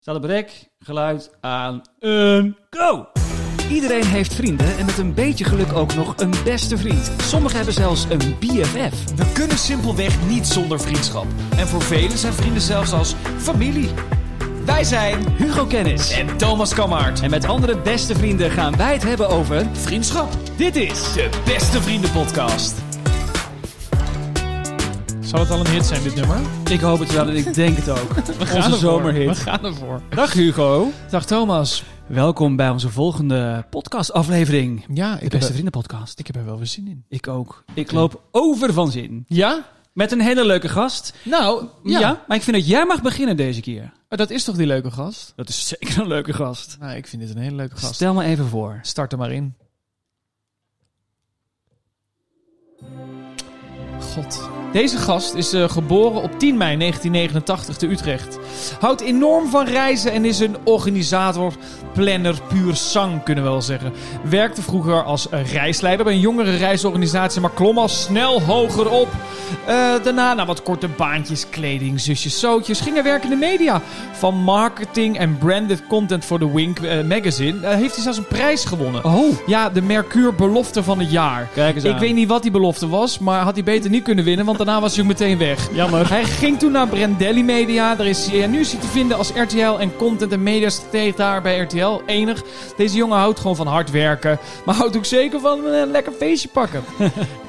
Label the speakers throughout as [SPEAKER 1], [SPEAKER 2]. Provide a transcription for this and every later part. [SPEAKER 1] Staat op rek, geluid aan en go!
[SPEAKER 2] Iedereen heeft vrienden en met een beetje geluk ook nog een beste vriend. Sommigen hebben zelfs een BFF.
[SPEAKER 3] We kunnen simpelweg niet zonder vriendschap. En voor velen zijn vrienden zelfs als familie. Wij zijn
[SPEAKER 2] Hugo Kennis.
[SPEAKER 3] en Thomas Kammaert.
[SPEAKER 2] En met andere beste vrienden gaan wij het hebben over...
[SPEAKER 3] Vriendschap,
[SPEAKER 2] Dit is...
[SPEAKER 3] de beste vrienden podcast.
[SPEAKER 4] Zal het al een hit zijn, dit nummer?
[SPEAKER 2] Ik hoop het wel en ik denk het ook. Onze
[SPEAKER 4] ervoor. We
[SPEAKER 2] zomerhit.
[SPEAKER 4] gaan ervoor.
[SPEAKER 2] Dag Hugo.
[SPEAKER 4] Dag Thomas.
[SPEAKER 2] Welkom bij onze volgende podcastaflevering.
[SPEAKER 4] Ja,
[SPEAKER 2] De
[SPEAKER 4] ik,
[SPEAKER 2] Beste
[SPEAKER 4] heb,
[SPEAKER 2] Vrienden podcast.
[SPEAKER 4] ik heb er wel weer zin in.
[SPEAKER 2] Ik ook. Ik loop over van zin.
[SPEAKER 4] Ja?
[SPEAKER 2] Met een hele leuke gast.
[SPEAKER 4] Nou,
[SPEAKER 2] Ja.
[SPEAKER 4] ja.
[SPEAKER 2] maar ik vind dat jij mag beginnen deze keer.
[SPEAKER 4] Maar Dat is toch die leuke gast?
[SPEAKER 2] Dat is zeker een leuke gast.
[SPEAKER 4] Nou, ik vind dit een hele leuke gast.
[SPEAKER 2] Stel me even voor.
[SPEAKER 4] Start er maar in. God. Deze gast is eh, geboren op 10 mei 1989 te Utrecht. Houdt enorm van reizen en is een organisator, planner, puur zang kunnen we wel zeggen. Werkte vroeger als eh, reisleider bij een jongere reisorganisatie, maar klom al snel hoger op. Eh, daarna, na wat korte baantjes, kleding, zusjes, zootjes, ging hij werken in de media. Van marketing en branded content voor de Wink eh, magazine eh, heeft hij zelfs een prijs gewonnen.
[SPEAKER 2] Oh,
[SPEAKER 4] Ja, de Mercure belofte van het jaar.
[SPEAKER 1] Kijk eens aan.
[SPEAKER 4] Ik weet niet wat die belofte was, maar had hij beter niet kunnen winnen, want daarna was hij ook meteen weg.
[SPEAKER 1] Jammer.
[SPEAKER 4] Hij ging toen naar Brendelli Media. Daar is hij en nu is hij te vinden als RTL en content en mediastratege bij RTL. Enig. Deze jongen houdt gewoon van hard werken. Maar houdt ook zeker van eh, een lekker feestje pakken.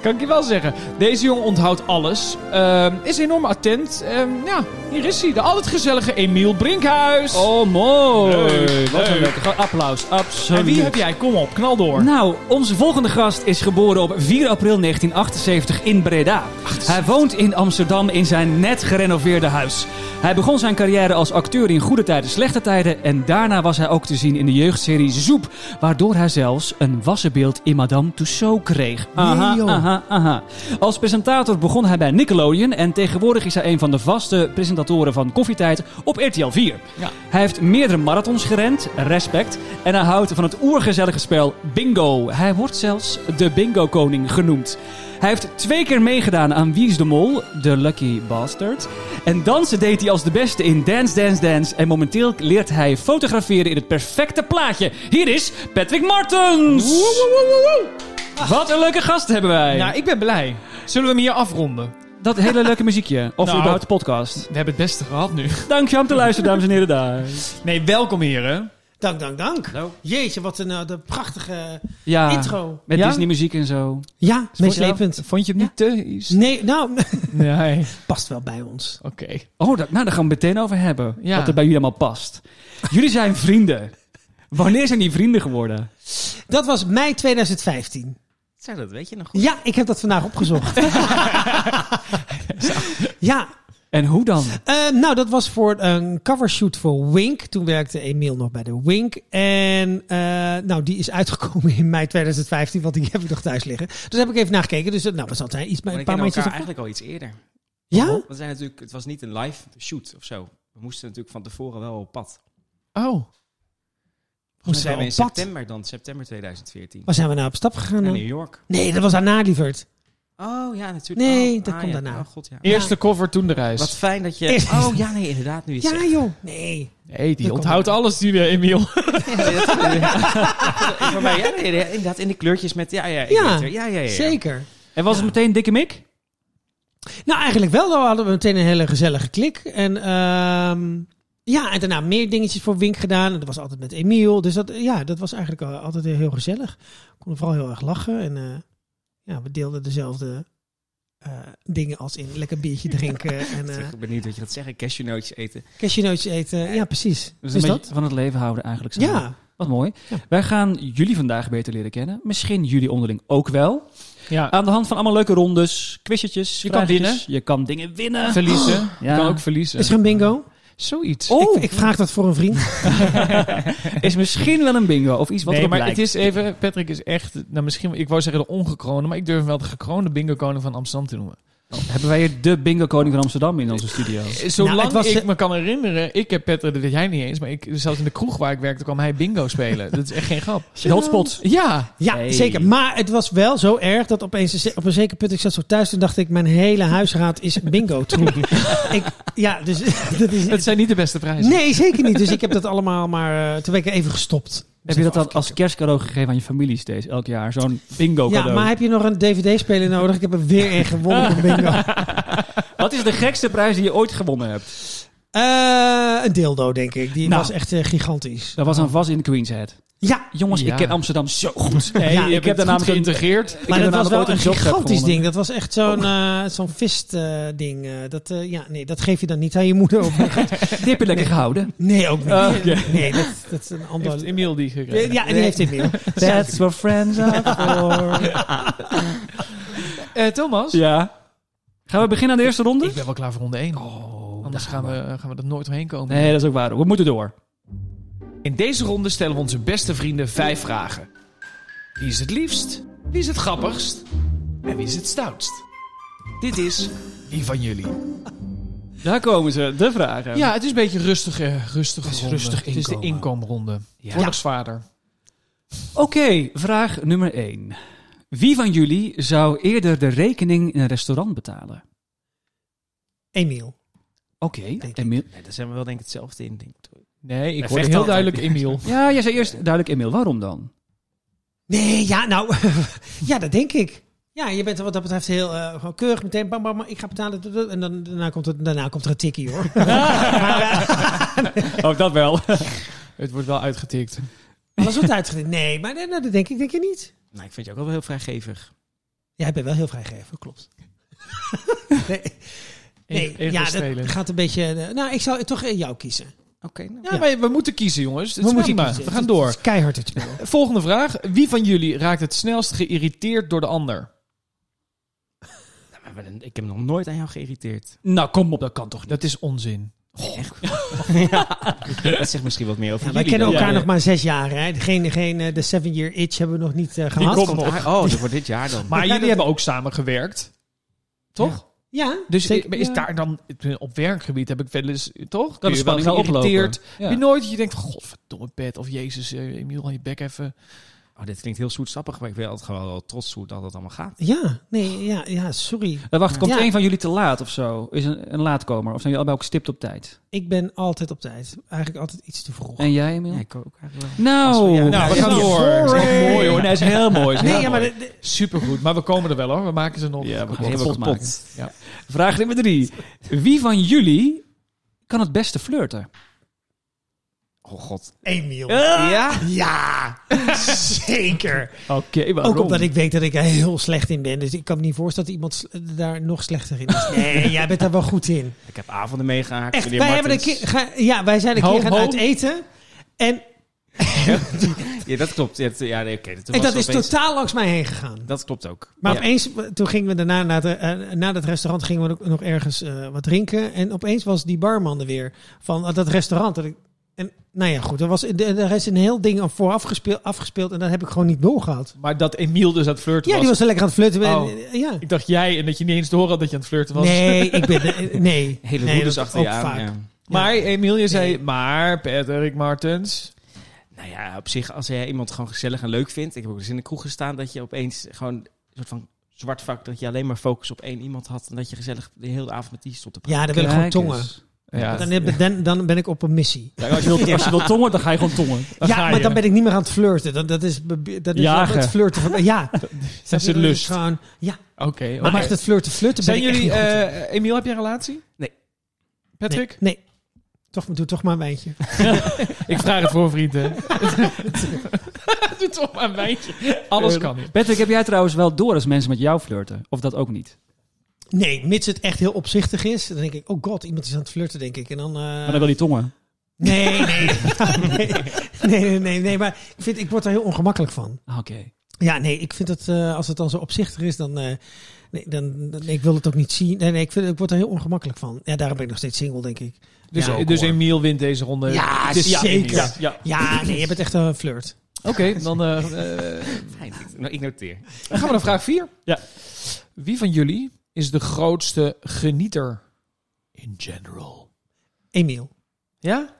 [SPEAKER 4] kan ik je wel zeggen. Deze jongen onthoudt alles. Ehm, is enorm attent. Ehm, ja, hier is hij. De altijd gezellige Emiel Brinkhuis.
[SPEAKER 1] Oh, mooi!
[SPEAKER 4] Leuk,
[SPEAKER 1] Wat een
[SPEAKER 4] leuk.
[SPEAKER 1] leuke gast. Applaus, absoluut.
[SPEAKER 4] en wie heb jij? Kom op, knal door.
[SPEAKER 2] Nou, onze volgende gast is geboren op 4 april 1978 in Breda. Hij woont in Amsterdam in zijn net gerenoveerde huis. Hij begon zijn carrière als acteur in goede tijden, slechte tijden. En daarna was hij ook te zien in de jeugdserie Zoep. Waardoor hij zelfs een wassenbeeld in Madame Tussauds kreeg. Aha,
[SPEAKER 4] Nee, joh.
[SPEAKER 2] aha, aha. Als presentator begon hij bij Nickelodeon. En tegenwoordig is hij een van de vaste presentatoren van Koffietijd op RTL 4.
[SPEAKER 4] Ja.
[SPEAKER 2] Hij heeft meerdere marathons gerend, respect. En hij houdt van het oergezellige spel Bingo. Hij wordt zelfs de Bingo Koning genoemd. Hij heeft twee keer meegedaan aan Wie is de Mol, de Lucky Bastard. En dansen deed hij als de beste in Dance Dance Dance. En momenteel leert hij fotograferen in het perfecte plaatje. Hier is Patrick Martens! Wat een leuke gast hebben wij!
[SPEAKER 4] Nou, ik ben blij. Zullen we hem hier afronden?
[SPEAKER 2] Dat hele leuke muziekje. Of
[SPEAKER 4] Nou.
[SPEAKER 2] überhaupt de podcast.
[SPEAKER 4] We hebben het beste gehad nu.
[SPEAKER 2] Dank je om te luisteren, dames en heren. Daar.
[SPEAKER 4] Nee, welkom heren.
[SPEAKER 5] Dank, dank, dank.
[SPEAKER 1] Hallo.
[SPEAKER 5] Jeetje, wat een, eh, de prachtige
[SPEAKER 6] Ah.
[SPEAKER 2] Ja,
[SPEAKER 5] intro.
[SPEAKER 2] met
[SPEAKER 4] Ja?
[SPEAKER 2] Disney muziek en zo.
[SPEAKER 5] Ja, meeslepend.
[SPEAKER 4] Vond je hem niet te... iets?
[SPEAKER 5] Nee, nou,
[SPEAKER 4] Nee.
[SPEAKER 5] past wel bij ons.
[SPEAKER 4] Oké.
[SPEAKER 2] Oh, dat, nou, daar gaan we het meteen over hebben.
[SPEAKER 4] Ja.
[SPEAKER 2] Wat er bij jullie allemaal past. Jullie zijn vrienden. Wanneer zijn die vrienden geworden?
[SPEAKER 5] Dat was mei 2015.
[SPEAKER 1] Zeg dat, weet je nog
[SPEAKER 5] Ja, ik heb dat vandaag opgezocht. ja,
[SPEAKER 2] En hoe dan?
[SPEAKER 5] eh, nou, dat was voor een covershoot voor Wink. Toen werkte Emiel nog bij de Wink. En eh, nou, die is uitgekomen in mei 2015, want die heb ik nog thuis liggen. Dus daar heb ik even nakekeken. Dus eh, nou, we zaten iets,
[SPEAKER 6] Maar
[SPEAKER 5] een
[SPEAKER 6] ik
[SPEAKER 5] paar
[SPEAKER 6] ken
[SPEAKER 5] maandjes.
[SPEAKER 6] elkaar
[SPEAKER 5] op-
[SPEAKER 6] eigenlijk al iets eerder.
[SPEAKER 5] Ja?
[SPEAKER 6] Want we zijn natuurlijk, het was niet een live shoot of zo. We moesten natuurlijk van tevoren wel op pad.
[SPEAKER 4] Oh.
[SPEAKER 6] Volgens
[SPEAKER 5] wel
[SPEAKER 6] mij zijn we in
[SPEAKER 5] op pad?
[SPEAKER 6] september dan, september 2014.
[SPEAKER 5] Waar zijn we nou op stap gegaan?
[SPEAKER 6] Naar
[SPEAKER 5] dan?
[SPEAKER 6] New York.
[SPEAKER 5] Nee, dat was daarna, lieverd.
[SPEAKER 6] Hm. Oh ja, natuurlijk.
[SPEAKER 5] Nee,
[SPEAKER 6] Oh,
[SPEAKER 5] dat komt
[SPEAKER 6] ja.
[SPEAKER 5] daarna.
[SPEAKER 6] Oh god, ja.
[SPEAKER 4] Eerst de cover, toen de reis.
[SPEAKER 6] Wat fijn dat je...
[SPEAKER 5] Eerst-
[SPEAKER 6] Oh ja, nee, inderdaad, nu is
[SPEAKER 5] Ja, joh. Nee.
[SPEAKER 4] Nee, die
[SPEAKER 5] Dat
[SPEAKER 4] onthoudt alles, die eh, Emiel.
[SPEAKER 6] Voor mij, ja, nee, nee, inderdaad, in de kleurtjes met... Ja, ja, ik weet
[SPEAKER 5] Ja,
[SPEAKER 6] het. ja, ja, ja, ja.
[SPEAKER 5] Zeker.
[SPEAKER 2] En was het meteen dikke mik?
[SPEAKER 5] Nou, eigenlijk wel. Dan hadden we meteen een hele gezellige klik. En ehm, ja, en daarna meer dingetjes voor Wink gedaan. En dat was altijd met Emiel. Dus dat, ja, dat was eigenlijk al- altijd heel gezellig. We konden vooral heel erg lachen. En eh, ja, we deelden dezelfde eh, dingen als in lekker biertje drinken en
[SPEAKER 6] Ik
[SPEAKER 5] eh
[SPEAKER 6] ben benieuwd dat je gaat zeggen. Cashewnootjes eten.
[SPEAKER 5] cashewnootjes eten. Ja, precies.
[SPEAKER 2] Dus
[SPEAKER 5] Dus,
[SPEAKER 2] een beetje
[SPEAKER 5] dat?
[SPEAKER 2] van het leven houden eigenlijk. samen.
[SPEAKER 5] Ja.
[SPEAKER 2] Wat mooi.
[SPEAKER 5] Ja.
[SPEAKER 2] Wij gaan jullie vandaag beter leren kennen. Misschien jullie onderling ook wel.
[SPEAKER 4] Ja.
[SPEAKER 2] Aan de hand van allemaal leuke rondes, quizzetjes.
[SPEAKER 4] Je kan
[SPEAKER 2] vraagjes.
[SPEAKER 4] winnen.
[SPEAKER 2] Je kan dingen winnen.
[SPEAKER 4] Verliezen.
[SPEAKER 2] Ja.
[SPEAKER 4] Je kan ook verliezen.
[SPEAKER 5] Is er een bingo?
[SPEAKER 4] Zoiets.
[SPEAKER 5] Ik, ik vraag dat voor een vriend.
[SPEAKER 2] Is misschien wel een bingo of iets wat
[SPEAKER 4] nee,
[SPEAKER 2] erop
[SPEAKER 4] maar
[SPEAKER 2] lijkt.
[SPEAKER 4] het is even... Patrick is echt... Nou, misschien... Ik wou zeggen de ongekroonde, maar ik durf hem wel de gekroonde bingo-koning van Amsterdam te noemen.
[SPEAKER 2] Hebben wij hier de bingo koning van Amsterdam in onze studio?
[SPEAKER 4] Zolang
[SPEAKER 5] Nou, het was,
[SPEAKER 4] ik
[SPEAKER 5] eh,
[SPEAKER 4] me kan herinneren, ik heb Petter, dat weet jij niet eens, maar ik, zelfs in de kroeg waar ik werkte kwam hij bingo spelen. Dat is echt geen grap.
[SPEAKER 2] De hotspot.
[SPEAKER 4] Ja,
[SPEAKER 5] Ja,
[SPEAKER 2] Hey.
[SPEAKER 5] zeker. Maar het was wel zo erg dat opeens op een zeker punt ik zat zo thuis en dacht ik mijn hele huisraad is bingo troep. ik, ja, dus dat is
[SPEAKER 4] het zijn niet de beste prijzen.
[SPEAKER 5] Nee, zeker niet. Dus ik heb dat allemaal maar eh toen ben ik even gestopt.
[SPEAKER 2] Heb je dat dan als kerstcadeau gegeven aan je familie steeds, elk jaar? Zo'n bingo
[SPEAKER 5] Ja,
[SPEAKER 2] cadeau.
[SPEAKER 5] maar heb je nog een DVD-speler nodig? Ik heb er weer een gewonnen van bingo.
[SPEAKER 2] Wat is de gekste prijs die je ooit gewonnen hebt?
[SPEAKER 5] Eh, een dildo, denk ik. Die
[SPEAKER 2] Nou.
[SPEAKER 5] was echt eh, gigantisch.
[SPEAKER 2] Dat was een vast in Queen's Head.
[SPEAKER 5] Ja,
[SPEAKER 2] Jongens,
[SPEAKER 4] Ja.
[SPEAKER 2] ik ken Amsterdam zo goed.
[SPEAKER 4] Nee,
[SPEAKER 5] Ja,
[SPEAKER 4] je
[SPEAKER 2] ik
[SPEAKER 4] ik
[SPEAKER 2] heb
[SPEAKER 4] heb
[SPEAKER 2] daarna
[SPEAKER 4] daarna
[SPEAKER 2] meteen-
[SPEAKER 4] geïntegreerd.
[SPEAKER 5] maar dat
[SPEAKER 2] heb
[SPEAKER 5] was
[SPEAKER 2] namelijk
[SPEAKER 5] wel
[SPEAKER 2] ooit
[SPEAKER 5] een
[SPEAKER 2] een jobtrap
[SPEAKER 5] gigantisch
[SPEAKER 2] gewonnen.
[SPEAKER 5] ding. Dat was echt zo'n eh zo'n vist-ding. dat, eh, ja, nee, dat geef je dan niet aan je moeder. Ook.
[SPEAKER 2] Die heb je lekker gehouden.
[SPEAKER 5] Nee, ook niet.
[SPEAKER 2] Oh,
[SPEAKER 5] Nee, dat, dat is een ander...
[SPEAKER 4] Heeft Emiel die gekregen.
[SPEAKER 5] Ja, die heeft dit meer.
[SPEAKER 2] That's what friends are for.
[SPEAKER 4] Eh, Thomas,
[SPEAKER 2] ja. Gaan we beginnen aan de eerste ronde?
[SPEAKER 4] ik ben wel klaar voor ronde 1.
[SPEAKER 2] Oh,
[SPEAKER 4] Anders gaan we, gaan we er nooit doorheen komen.
[SPEAKER 2] Nee, dat is ook waar. We moeten door.
[SPEAKER 3] In deze ronde stellen we onze beste vrienden vijf vragen. Wie is het liefst? Wie is het grappigst? En wie is het stoutst? Dit is Wie van jullie? Ehm,
[SPEAKER 2] Daar komen ze, de vragen.
[SPEAKER 4] Ja, het is een beetje rustig, eh, rustig
[SPEAKER 2] Het is
[SPEAKER 4] ronde.
[SPEAKER 2] rustig
[SPEAKER 4] Het is de
[SPEAKER 2] inkomen.
[SPEAKER 4] inkomenronde.
[SPEAKER 2] Ja.
[SPEAKER 4] Wordt nog zwaarder.
[SPEAKER 2] Oké, vraag nummer 1. Wie van jullie zou eerder de rekening in een restaurant betalen?
[SPEAKER 5] Emiel.
[SPEAKER 2] Oké,
[SPEAKER 5] ik.
[SPEAKER 2] Emiel.
[SPEAKER 6] Nee, daar zijn we wel denk ik hetzelfde in. Denk ik.
[SPEAKER 4] Nee, ik
[SPEAKER 6] Hij
[SPEAKER 4] hoorde
[SPEAKER 6] vecht
[SPEAKER 4] heel
[SPEAKER 6] altijd.
[SPEAKER 4] duidelijk Emiel.
[SPEAKER 2] Ja, jij zei eerst duidelijk Emiel. Waarom dan?
[SPEAKER 5] Nee, ja, nou, ja, dat denk ik. Ja, je bent wat dat betreft heel eh, gewoon keurig. Meteen, bam, bam, bam, ik ga betalen. doe, doe, En dan, daarna, komt het, daarna komt er een tikkie, hoor. maar eh,
[SPEAKER 2] Ook dat wel.
[SPEAKER 4] Het wordt wel uitgetikt.
[SPEAKER 5] alles wordt uitgediend. Nee, maar nee, nou, dat denk ik, denk je niet.
[SPEAKER 6] Nou, ik vind je ook wel heel vrijgevig.
[SPEAKER 5] Jij bent wel heel vrijgever, klopt. nee, nee
[SPEAKER 4] Ego
[SPEAKER 5] ja, dat
[SPEAKER 4] strelen.
[SPEAKER 5] gaat een beetje... eh, nou, ik zou toch eh, jou kiezen.
[SPEAKER 6] Oké, nou.
[SPEAKER 4] Ja,
[SPEAKER 5] Ja.
[SPEAKER 4] maar we moeten kiezen, jongens. Het
[SPEAKER 5] We
[SPEAKER 4] is
[SPEAKER 5] moeten
[SPEAKER 4] prima.
[SPEAKER 5] kiezen.
[SPEAKER 4] We gaan
[SPEAKER 5] Het
[SPEAKER 4] door.
[SPEAKER 5] is keihard het spel.
[SPEAKER 4] Volgende vraag. Wie van jullie raakt het snelst geïrriteerd door de ander?
[SPEAKER 6] Nou, maar wel een- ik heb nog nooit aan jou geïrriteerd.
[SPEAKER 4] Nou, kom op, dat kan toch niet? Dat is onzin.
[SPEAKER 6] Dat zegt misschien wat meer over
[SPEAKER 5] Ja, wij
[SPEAKER 6] jullie
[SPEAKER 5] kennen
[SPEAKER 6] dan.
[SPEAKER 5] elkaar
[SPEAKER 4] ja.
[SPEAKER 5] nog maar zes jaar. Hè? Degene, degene, de seven year itch hebben we nog niet eh, gehad.
[SPEAKER 6] Die komt daar- Oh, dat wordt dit jaar dan.
[SPEAKER 4] Maar
[SPEAKER 5] Ja,
[SPEAKER 4] jullie
[SPEAKER 5] dat-
[SPEAKER 4] hebben ook samengewerkt. Toch?
[SPEAKER 5] Ja,
[SPEAKER 4] Dus
[SPEAKER 5] zeker.
[SPEAKER 4] is
[SPEAKER 5] Ja.
[SPEAKER 4] daar dan, op werkgebied heb ik wel eens, toch?
[SPEAKER 2] Kan de spanning wel oplopen.
[SPEAKER 4] geïrriteerd. Heb je nooit dat je denkt, van, godverdomme pet, of jezus, eh, Emiel, aan je bek even.
[SPEAKER 6] Oh, dit klinkt heel zoetsappig, maar ik ben altijd gewoon wel trots hoe dat het allemaal gaat.
[SPEAKER 5] Ja, nee, ja, ja, sorry.
[SPEAKER 2] Eh, wacht, komt
[SPEAKER 5] Ja.
[SPEAKER 2] één van jullie te laat of zo? Is een, een laatkomer? Of zijn jullie allebei ook stipt op tijd?
[SPEAKER 5] Ik ben altijd op tijd. Eigenlijk altijd iets te vroeg.
[SPEAKER 2] En jij, Emiel?
[SPEAKER 6] Ja, ik ook eigenlijk wel.
[SPEAKER 2] Nou,
[SPEAKER 4] Nou, we
[SPEAKER 5] ja,
[SPEAKER 4] gaan
[SPEAKER 5] ja.
[SPEAKER 4] door.
[SPEAKER 5] Sorry.
[SPEAKER 4] Dat is echt mooi hoor. Nee, is heel mooi.
[SPEAKER 5] nee, ja, maar de- de-
[SPEAKER 4] Supergoed, maar we komen er wel hoor. We maken ze nog.
[SPEAKER 2] Ja, we
[SPEAKER 4] Kapot.
[SPEAKER 2] gaan ze helemaal kapot maken.
[SPEAKER 4] Ja.
[SPEAKER 2] Vraag nummer drie. Wie van jullie kan het beste flirten?
[SPEAKER 6] Oh god.
[SPEAKER 5] Emiel.
[SPEAKER 6] Ja?
[SPEAKER 5] Ja, zeker.
[SPEAKER 2] Oké, waarom?
[SPEAKER 5] Ook omdat ik weet dat ik er heel slecht in ben. Dus ik kan me niet voorstellen dat iemand sl- daar nog slechter in is. Nee, jij bent daar wel goed in.
[SPEAKER 6] Ik heb avonden meegehaakt.
[SPEAKER 5] Echt,
[SPEAKER 6] meneer
[SPEAKER 5] wij, hebben een
[SPEAKER 6] Martens.
[SPEAKER 5] keer, ga- ja, wij zijn een
[SPEAKER 4] Ho,
[SPEAKER 5] keer gaan
[SPEAKER 4] ho.
[SPEAKER 5] uit eten. En,
[SPEAKER 6] Ja, dat klopt. Ja, dat- ja, nee, oké, toen was
[SPEAKER 5] en dat is
[SPEAKER 6] opeens-
[SPEAKER 5] totaal langs mij heen gegaan.
[SPEAKER 6] Dat klopt ook.
[SPEAKER 5] Maar
[SPEAKER 6] Ja.
[SPEAKER 5] opeens, toen gingen we daarna, na, de, eh, na dat restaurant, gingen we ook nog ergens eh, wat drinken. En opeens was die barman er weer van eh, dat restaurant. Dat ik, en nou ja, goed, er, was, de- er is een heel ding aan vooraf gespeeld, afgespeeld en dat heb ik gewoon niet doorgehad.
[SPEAKER 4] Maar dat Emiel dus aan het flirten
[SPEAKER 5] Ja,
[SPEAKER 4] was.
[SPEAKER 5] die was er lekker aan het flirten. En,
[SPEAKER 4] Oh.
[SPEAKER 5] eh, ja.
[SPEAKER 4] Ik dacht jij en dat je niet eens door had dat je aan het flirten was.
[SPEAKER 5] Nee, ik ben... eh, Nee.
[SPEAKER 6] Hele
[SPEAKER 5] nee,
[SPEAKER 6] roeders
[SPEAKER 5] dat
[SPEAKER 6] achter
[SPEAKER 5] ook
[SPEAKER 6] je aan.
[SPEAKER 5] vaak.
[SPEAKER 6] ja.
[SPEAKER 4] Maar Emiel, je zei, maar Patrick Martens.
[SPEAKER 6] Nou ja, op zich, als jij iemand gewoon gezellig en leuk vindt. Ik heb ook eens in de kroeg gestaan dat je opeens gewoon een soort van zwart vak. dat je alleen maar focus op één iemand had. en dat je gezellig de hele avond met die stond te praten.
[SPEAKER 5] Ja, dan wil ik gewoon tongen.
[SPEAKER 4] Ja.
[SPEAKER 5] Dan, heb- dan, dan ben ik op een missie.
[SPEAKER 2] Ja, als, je wilt, als je wilt tongen, dan ga je gewoon tongen.
[SPEAKER 4] Dan ga
[SPEAKER 5] ja, maar
[SPEAKER 4] je.
[SPEAKER 5] dan ben ik niet meer aan het flirten. Dat, dat is, be- dat is
[SPEAKER 2] Jagen.
[SPEAKER 5] het flirten van... Ja.
[SPEAKER 4] Dat is een
[SPEAKER 5] is
[SPEAKER 4] lust. Oké.
[SPEAKER 5] Gewoon, ja, maar
[SPEAKER 4] oké.
[SPEAKER 5] echt het flirten, flirten ben
[SPEAKER 4] Zijn
[SPEAKER 5] ik echt
[SPEAKER 4] jullie,
[SPEAKER 5] niet goed in.
[SPEAKER 4] eh, Emiel, heb je een relatie?
[SPEAKER 6] Nee.
[SPEAKER 4] Patrick?
[SPEAKER 5] Nee. nee. Toch, doe toch maar een wijntje.
[SPEAKER 4] Ik vraag het voor vrienden. Doe toch maar een wijntje. Alles kan hier.
[SPEAKER 2] Eh, Patrick, heb jij trouwens wel door als mensen met jou flirten? Of dat ook niet?
[SPEAKER 5] Nee, mits het echt heel opzichtig is. Dan denk ik, oh god, iemand is aan het flirten, denk ik. En dan... eh,
[SPEAKER 2] Maar dan wil die tongen.
[SPEAKER 5] nee, nee, nee, nee, nee, nee, nee. Maar ik, vind, ik word daar heel ongemakkelijk van.
[SPEAKER 2] Ah, Oké.
[SPEAKER 5] Ja, nee, ik vind dat eh, als het dan zo opzichtig is, dan... eh, nee, dan, dan- ik wil het ook niet zien. Nee, nee, ik, vind, ik word daar heel ongemakkelijk van. Ja, daarom ben ik nog steeds single, denk ik.
[SPEAKER 4] Dus,
[SPEAKER 5] Ja,
[SPEAKER 4] dus Emiel wint deze ronde.
[SPEAKER 5] Ja,
[SPEAKER 4] Het is-
[SPEAKER 5] zeker.
[SPEAKER 4] Ja, ja.
[SPEAKER 5] Ja, nee, je bent echt een flirt.
[SPEAKER 4] Oké, dan eh, eh,
[SPEAKER 6] Fijn. Nou, ik noteer.
[SPEAKER 4] gaan we naar vraag 4.
[SPEAKER 2] Ja.
[SPEAKER 4] Wie van jullie is de grootste genieter? In general.
[SPEAKER 5] Emiel.
[SPEAKER 4] Ja?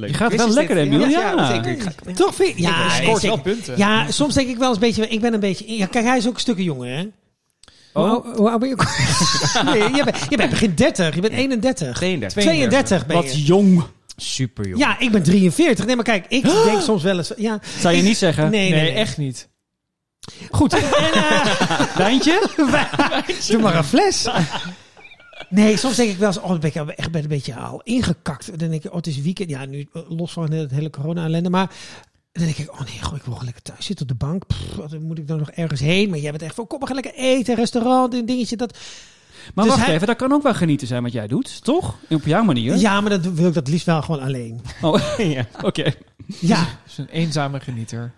[SPEAKER 2] Je gaat wel lekker, Emiel. Ja,
[SPEAKER 6] zeker. Ik ga-
[SPEAKER 5] Toch vind Ja,
[SPEAKER 4] Hij scoort
[SPEAKER 5] zeker.
[SPEAKER 4] wel punten.
[SPEAKER 5] Ja, soms denk ik wel eens een beetje... Ik ben een beetje... Ja, kijk, hij is ook een stukje jonger, hè? Hoe oud- hoe oud ben je? ook? nee, je bent, je bent begin 30. Je bent 31.
[SPEAKER 6] 32.
[SPEAKER 5] 32 ben je.
[SPEAKER 2] Wat jong.
[SPEAKER 6] Super jong.
[SPEAKER 5] Ja, ik ben 43. Nee, maar kijk, ik denk soms wel eens... Ja,
[SPEAKER 2] Zou je niet zeggen.
[SPEAKER 5] nee, nee,
[SPEAKER 4] Nee,
[SPEAKER 5] nee.
[SPEAKER 4] echt niet.
[SPEAKER 5] Goed. En, eh,
[SPEAKER 2] Wijntje?
[SPEAKER 5] doe maar een fles. Nee, soms denk ik wel eens, oh, ben ik al- echt ben een beetje al ingekakt. Dan denk ik, oh, het is weekend. Ja, nu eh, los van het hele corona-ellende. Maar dan denk ik, oh nee, goh, ik wil gewoon lekker thuis zitten op de bank. Pff, wat moet ik dan nog ergens heen? Maar jij bent echt van, kom, we gaan lekker eten, restaurant, een dingetje. Dat,
[SPEAKER 2] Maar
[SPEAKER 5] Dus
[SPEAKER 2] wacht
[SPEAKER 5] hij-
[SPEAKER 2] even, dat kan ook wel genieten zijn wat jij doet, toch? Op jouw manier.
[SPEAKER 5] ja, maar dat wil ik dat liefst wel gewoon alleen.
[SPEAKER 2] Oh, ja. Oké.
[SPEAKER 5] Ja.
[SPEAKER 4] Dat is een eenzame genieter.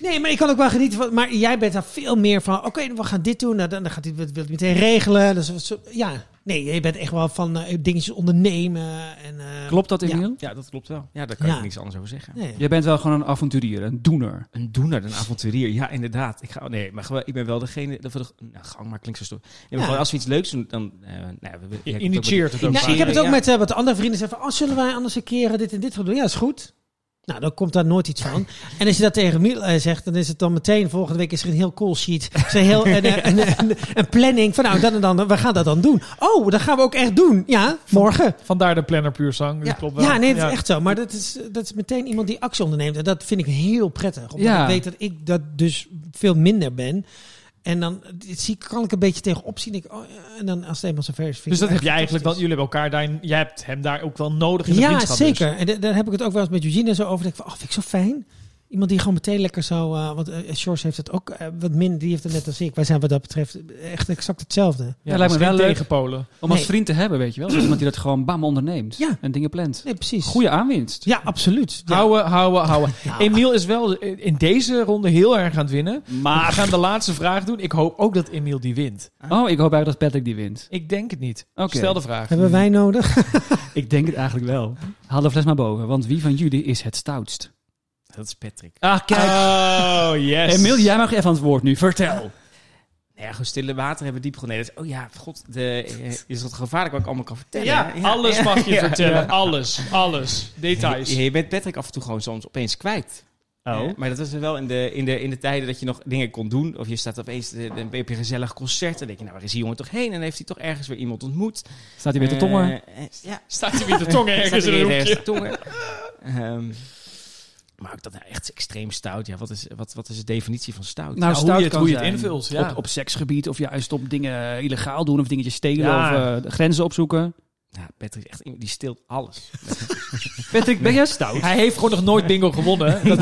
[SPEAKER 5] Nee, maar ik kan ook wel genieten van. Maar jij bent daar veel meer van. Oké, we gaan dit doen. Nou, dan, dan gaat dit wil het meteen regelen. Dus, wat zo- ja, nee, je bent echt wel van eh, dingetjes ondernemen. En, eh,
[SPEAKER 2] Klopt dat,
[SPEAKER 5] Ja.
[SPEAKER 2] Emiel?
[SPEAKER 6] Ja, dat klopt wel. Ja, daar kan
[SPEAKER 5] Ja.
[SPEAKER 6] ik niks anders over zeggen.
[SPEAKER 5] Nee.
[SPEAKER 2] Je bent wel gewoon een avonturier, een doener.
[SPEAKER 6] Een doener, een avonturier. Ja, inderdaad. Ik ga, oh, nee, maar gewoon- ik ben wel degene... Dat we de, nou, gang maar klinkt zo stoer. Nee, maar
[SPEAKER 5] Ja.
[SPEAKER 6] gewoon als we iets leuks doen, dan... eh, nou, ja, we- we- jij komt ook met-
[SPEAKER 4] Initieert het ook.
[SPEAKER 5] Nou, ik heb het
[SPEAKER 6] Ja.
[SPEAKER 5] ook met eh, wat andere vrienden zeggen van, oh, zullen wij anders een keer eh, dit en dit gaan doen? Ja, is goed. Nou, dan komt daar nooit iets van. En als je dat tegen Miel eh, zegt, dan is het dan meteen volgende week is er een heel cool sheet. Is er heel, een, eh, een, een- een planning van, nou, dan en dan, we gaan dat dan doen. Oh, dat gaan we ook echt doen. Ja, morgen.
[SPEAKER 4] Vandaar de planner puur zang. Dat klopt wel.
[SPEAKER 5] Ja, nee, dat is echt zo. Maar dat is, dat is meteen iemand die actie onderneemt. En dat vind ik heel prettig. Omdat
[SPEAKER 2] Ja.
[SPEAKER 5] ik weet dat ik dat dus veel minder ben. En dan dit zie, ik- kan ik een beetje tegenop zien. Ik, oh, ja, en dan als het eenmaal zover is... vind
[SPEAKER 4] Dus
[SPEAKER 5] ik
[SPEAKER 4] dat
[SPEAKER 5] het
[SPEAKER 4] heb je
[SPEAKER 5] echt
[SPEAKER 4] eigenlijk dan.
[SPEAKER 5] fantastisch.
[SPEAKER 4] Jullie hebben elkaar daar. Jij hebt hem daar ook wel nodig in de
[SPEAKER 5] Ja,
[SPEAKER 4] vriendschap. dus.
[SPEAKER 5] zeker. En da- daar heb ik het ook wel eens met Eugene zo over. Dat ik van, oh, vind ik zo fijn. Iemand die gewoon meteen lekker zo... eh, want eh Shores heeft het ook eh, wat minder. Die heeft het net als ik. Wij zijn wat dat betreft echt exact hetzelfde.
[SPEAKER 4] Ja, dus
[SPEAKER 2] Ja,
[SPEAKER 4] lijkt me wel
[SPEAKER 2] leuk.
[SPEAKER 4] tegen Polen.
[SPEAKER 2] Om als
[SPEAKER 5] Nee.
[SPEAKER 2] vriend te hebben, weet je wel. Dus iemand die dat gewoon bam onderneemt.
[SPEAKER 5] Ja.
[SPEAKER 2] En dingen plant.
[SPEAKER 5] Nee, precies.
[SPEAKER 2] Goeie aanwinst.
[SPEAKER 5] Ja, absoluut. Ja.
[SPEAKER 4] Houden, houden, houden.
[SPEAKER 5] Ja.
[SPEAKER 4] Emiel is wel in deze ronde heel erg aan het winnen.
[SPEAKER 2] Maar...
[SPEAKER 4] We gaan de laatste vraag doen. Ik hoop ook dat Emiel die wint.
[SPEAKER 5] Ah.
[SPEAKER 2] Oh, ik hoop eigenlijk dat Patrick die wint.
[SPEAKER 4] Ik denk het niet.
[SPEAKER 2] Oké.
[SPEAKER 4] Stel de vraag.
[SPEAKER 5] Hebben wij nodig?
[SPEAKER 2] Ik denk het eigenlijk wel. Haal de fles maar boven, want wie van jullie is het stoutst?
[SPEAKER 6] Dat is Patrick.
[SPEAKER 2] Ah, kijk.
[SPEAKER 4] Oh, yes.
[SPEAKER 2] Emiel, jij mag even aan het woord nu. Vertel.
[SPEAKER 6] Nee, ja, gewoon stille water hebben diep Nee, dat is, oh ja, god. De, eh, is dat gevaarlijk wat ik allemaal kan vertellen?
[SPEAKER 4] Ja,
[SPEAKER 6] hè?
[SPEAKER 4] alles mag je
[SPEAKER 6] Ja.
[SPEAKER 4] vertellen. Alles, alles. Details.
[SPEAKER 6] Je, je bent Patrick af en toe gewoon soms opeens kwijt.
[SPEAKER 4] Oh.
[SPEAKER 6] Eh, maar dat was wel in de, in, de, in de tijden dat je nog dingen kon doen. Of je staat opeens, eh, dan heb je een gezellig concert. En dan denk je, nou, waar is die jongen toch heen? En dan heeft hij toch ergens weer iemand ontmoet.
[SPEAKER 2] Staat hij weer te
[SPEAKER 6] Eh,
[SPEAKER 2] tongen?
[SPEAKER 6] eh, ja,
[SPEAKER 4] Staat hij weer de tongen
[SPEAKER 6] staat
[SPEAKER 4] ergens
[SPEAKER 6] hij
[SPEAKER 4] in een
[SPEAKER 6] weer ergens te
[SPEAKER 4] hoekje.
[SPEAKER 6] tongen. Ehm, maar ook dat nou echt extreem stout. Ja, wat is, wat, wat is de definitie van stout?
[SPEAKER 2] Nou,
[SPEAKER 4] Ja, hoe je het,
[SPEAKER 2] kan
[SPEAKER 4] hoe je het
[SPEAKER 2] zijn.
[SPEAKER 4] invult. Ja.
[SPEAKER 2] Op, op seksgebied of juist op dingen illegaal doen of dingetjes stelen
[SPEAKER 4] Ja.
[SPEAKER 2] of eh, grenzen opzoeken.
[SPEAKER 6] Ja, Patrick is echt, iemand die stilt alles.
[SPEAKER 2] Patrick, ben jij stout?
[SPEAKER 4] Hij heeft gewoon nog nooit bingo gewonnen. Dat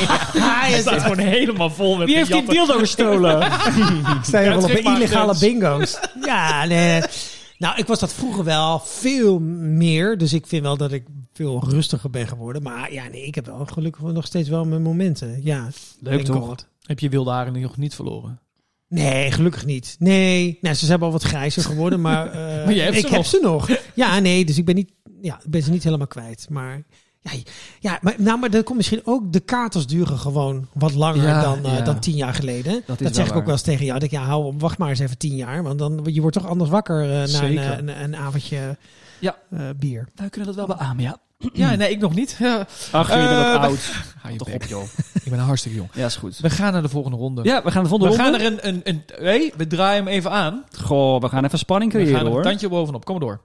[SPEAKER 4] Hij staat gewoon helemaal vol met
[SPEAKER 2] Wie heeft die
[SPEAKER 4] gejatter.
[SPEAKER 2] dildo gestolen?
[SPEAKER 5] Ik sta hier wel op
[SPEAKER 4] trek
[SPEAKER 5] bij
[SPEAKER 4] maar
[SPEAKER 5] illegale
[SPEAKER 4] grens.
[SPEAKER 5] bingo's. Ja, nee. Nou, ik was dat vroeger wel veel meer. Dus ik vind wel dat ik veel rustiger ben geworden. Maar ja, nee, ik heb wel gelukkig nog steeds wel mijn momenten. Ja,
[SPEAKER 2] Leuk
[SPEAKER 5] Thank
[SPEAKER 2] toch?
[SPEAKER 5] God.
[SPEAKER 4] Heb je wilde haren nog niet verloren?
[SPEAKER 5] Nee, gelukkig niet. Nee, nou, ze zijn al wat grijzer geworden, maar, eh,
[SPEAKER 4] Maar jij hebt
[SPEAKER 5] ik
[SPEAKER 4] ze
[SPEAKER 5] heb
[SPEAKER 4] nog.
[SPEAKER 5] ze nog. Ja, nee, dus ik ben, niet, ja, ik ben ze niet helemaal kwijt. Maar, ja, ja, maar, nou, maar dat komt misschien ook, de katers duren gewoon wat langer
[SPEAKER 2] Ja,
[SPEAKER 5] dan, eh,
[SPEAKER 2] ja.
[SPEAKER 5] dan tien jaar geleden. Dat,
[SPEAKER 2] wel
[SPEAKER 5] zeg ik
[SPEAKER 2] waar.
[SPEAKER 5] ook wel eens tegen jou. Dat ik, ja, hou op, wacht maar eens even tien jaar, want dan, je wordt toch anders wakker eh, na een,
[SPEAKER 4] Zeker.
[SPEAKER 5] eh, een, een avondje
[SPEAKER 2] Ja.
[SPEAKER 5] eh, bier.
[SPEAKER 2] Wij kunnen dat wel beamen, ja.
[SPEAKER 4] Ja, nee, ik nog niet. Ja.
[SPEAKER 2] Ach,
[SPEAKER 4] jullie bent wat
[SPEAKER 2] oud.
[SPEAKER 4] Ga je
[SPEAKER 2] Toch op,
[SPEAKER 4] bek.
[SPEAKER 2] joh.
[SPEAKER 4] Ik ben hartstikke jong.
[SPEAKER 2] Ja, is goed.
[SPEAKER 4] We gaan naar de volgende ronde.
[SPEAKER 2] Ja, we gaan de
[SPEAKER 4] we
[SPEAKER 2] volgende
[SPEAKER 4] gaan
[SPEAKER 2] ronde.
[SPEAKER 4] er een... een, een hey, we draaien hem even aan.
[SPEAKER 2] Goh, we gaan even spanning
[SPEAKER 4] We
[SPEAKER 2] creëren,
[SPEAKER 4] gaan er een
[SPEAKER 2] hoor.
[SPEAKER 4] tandje bovenop. Kom maar door.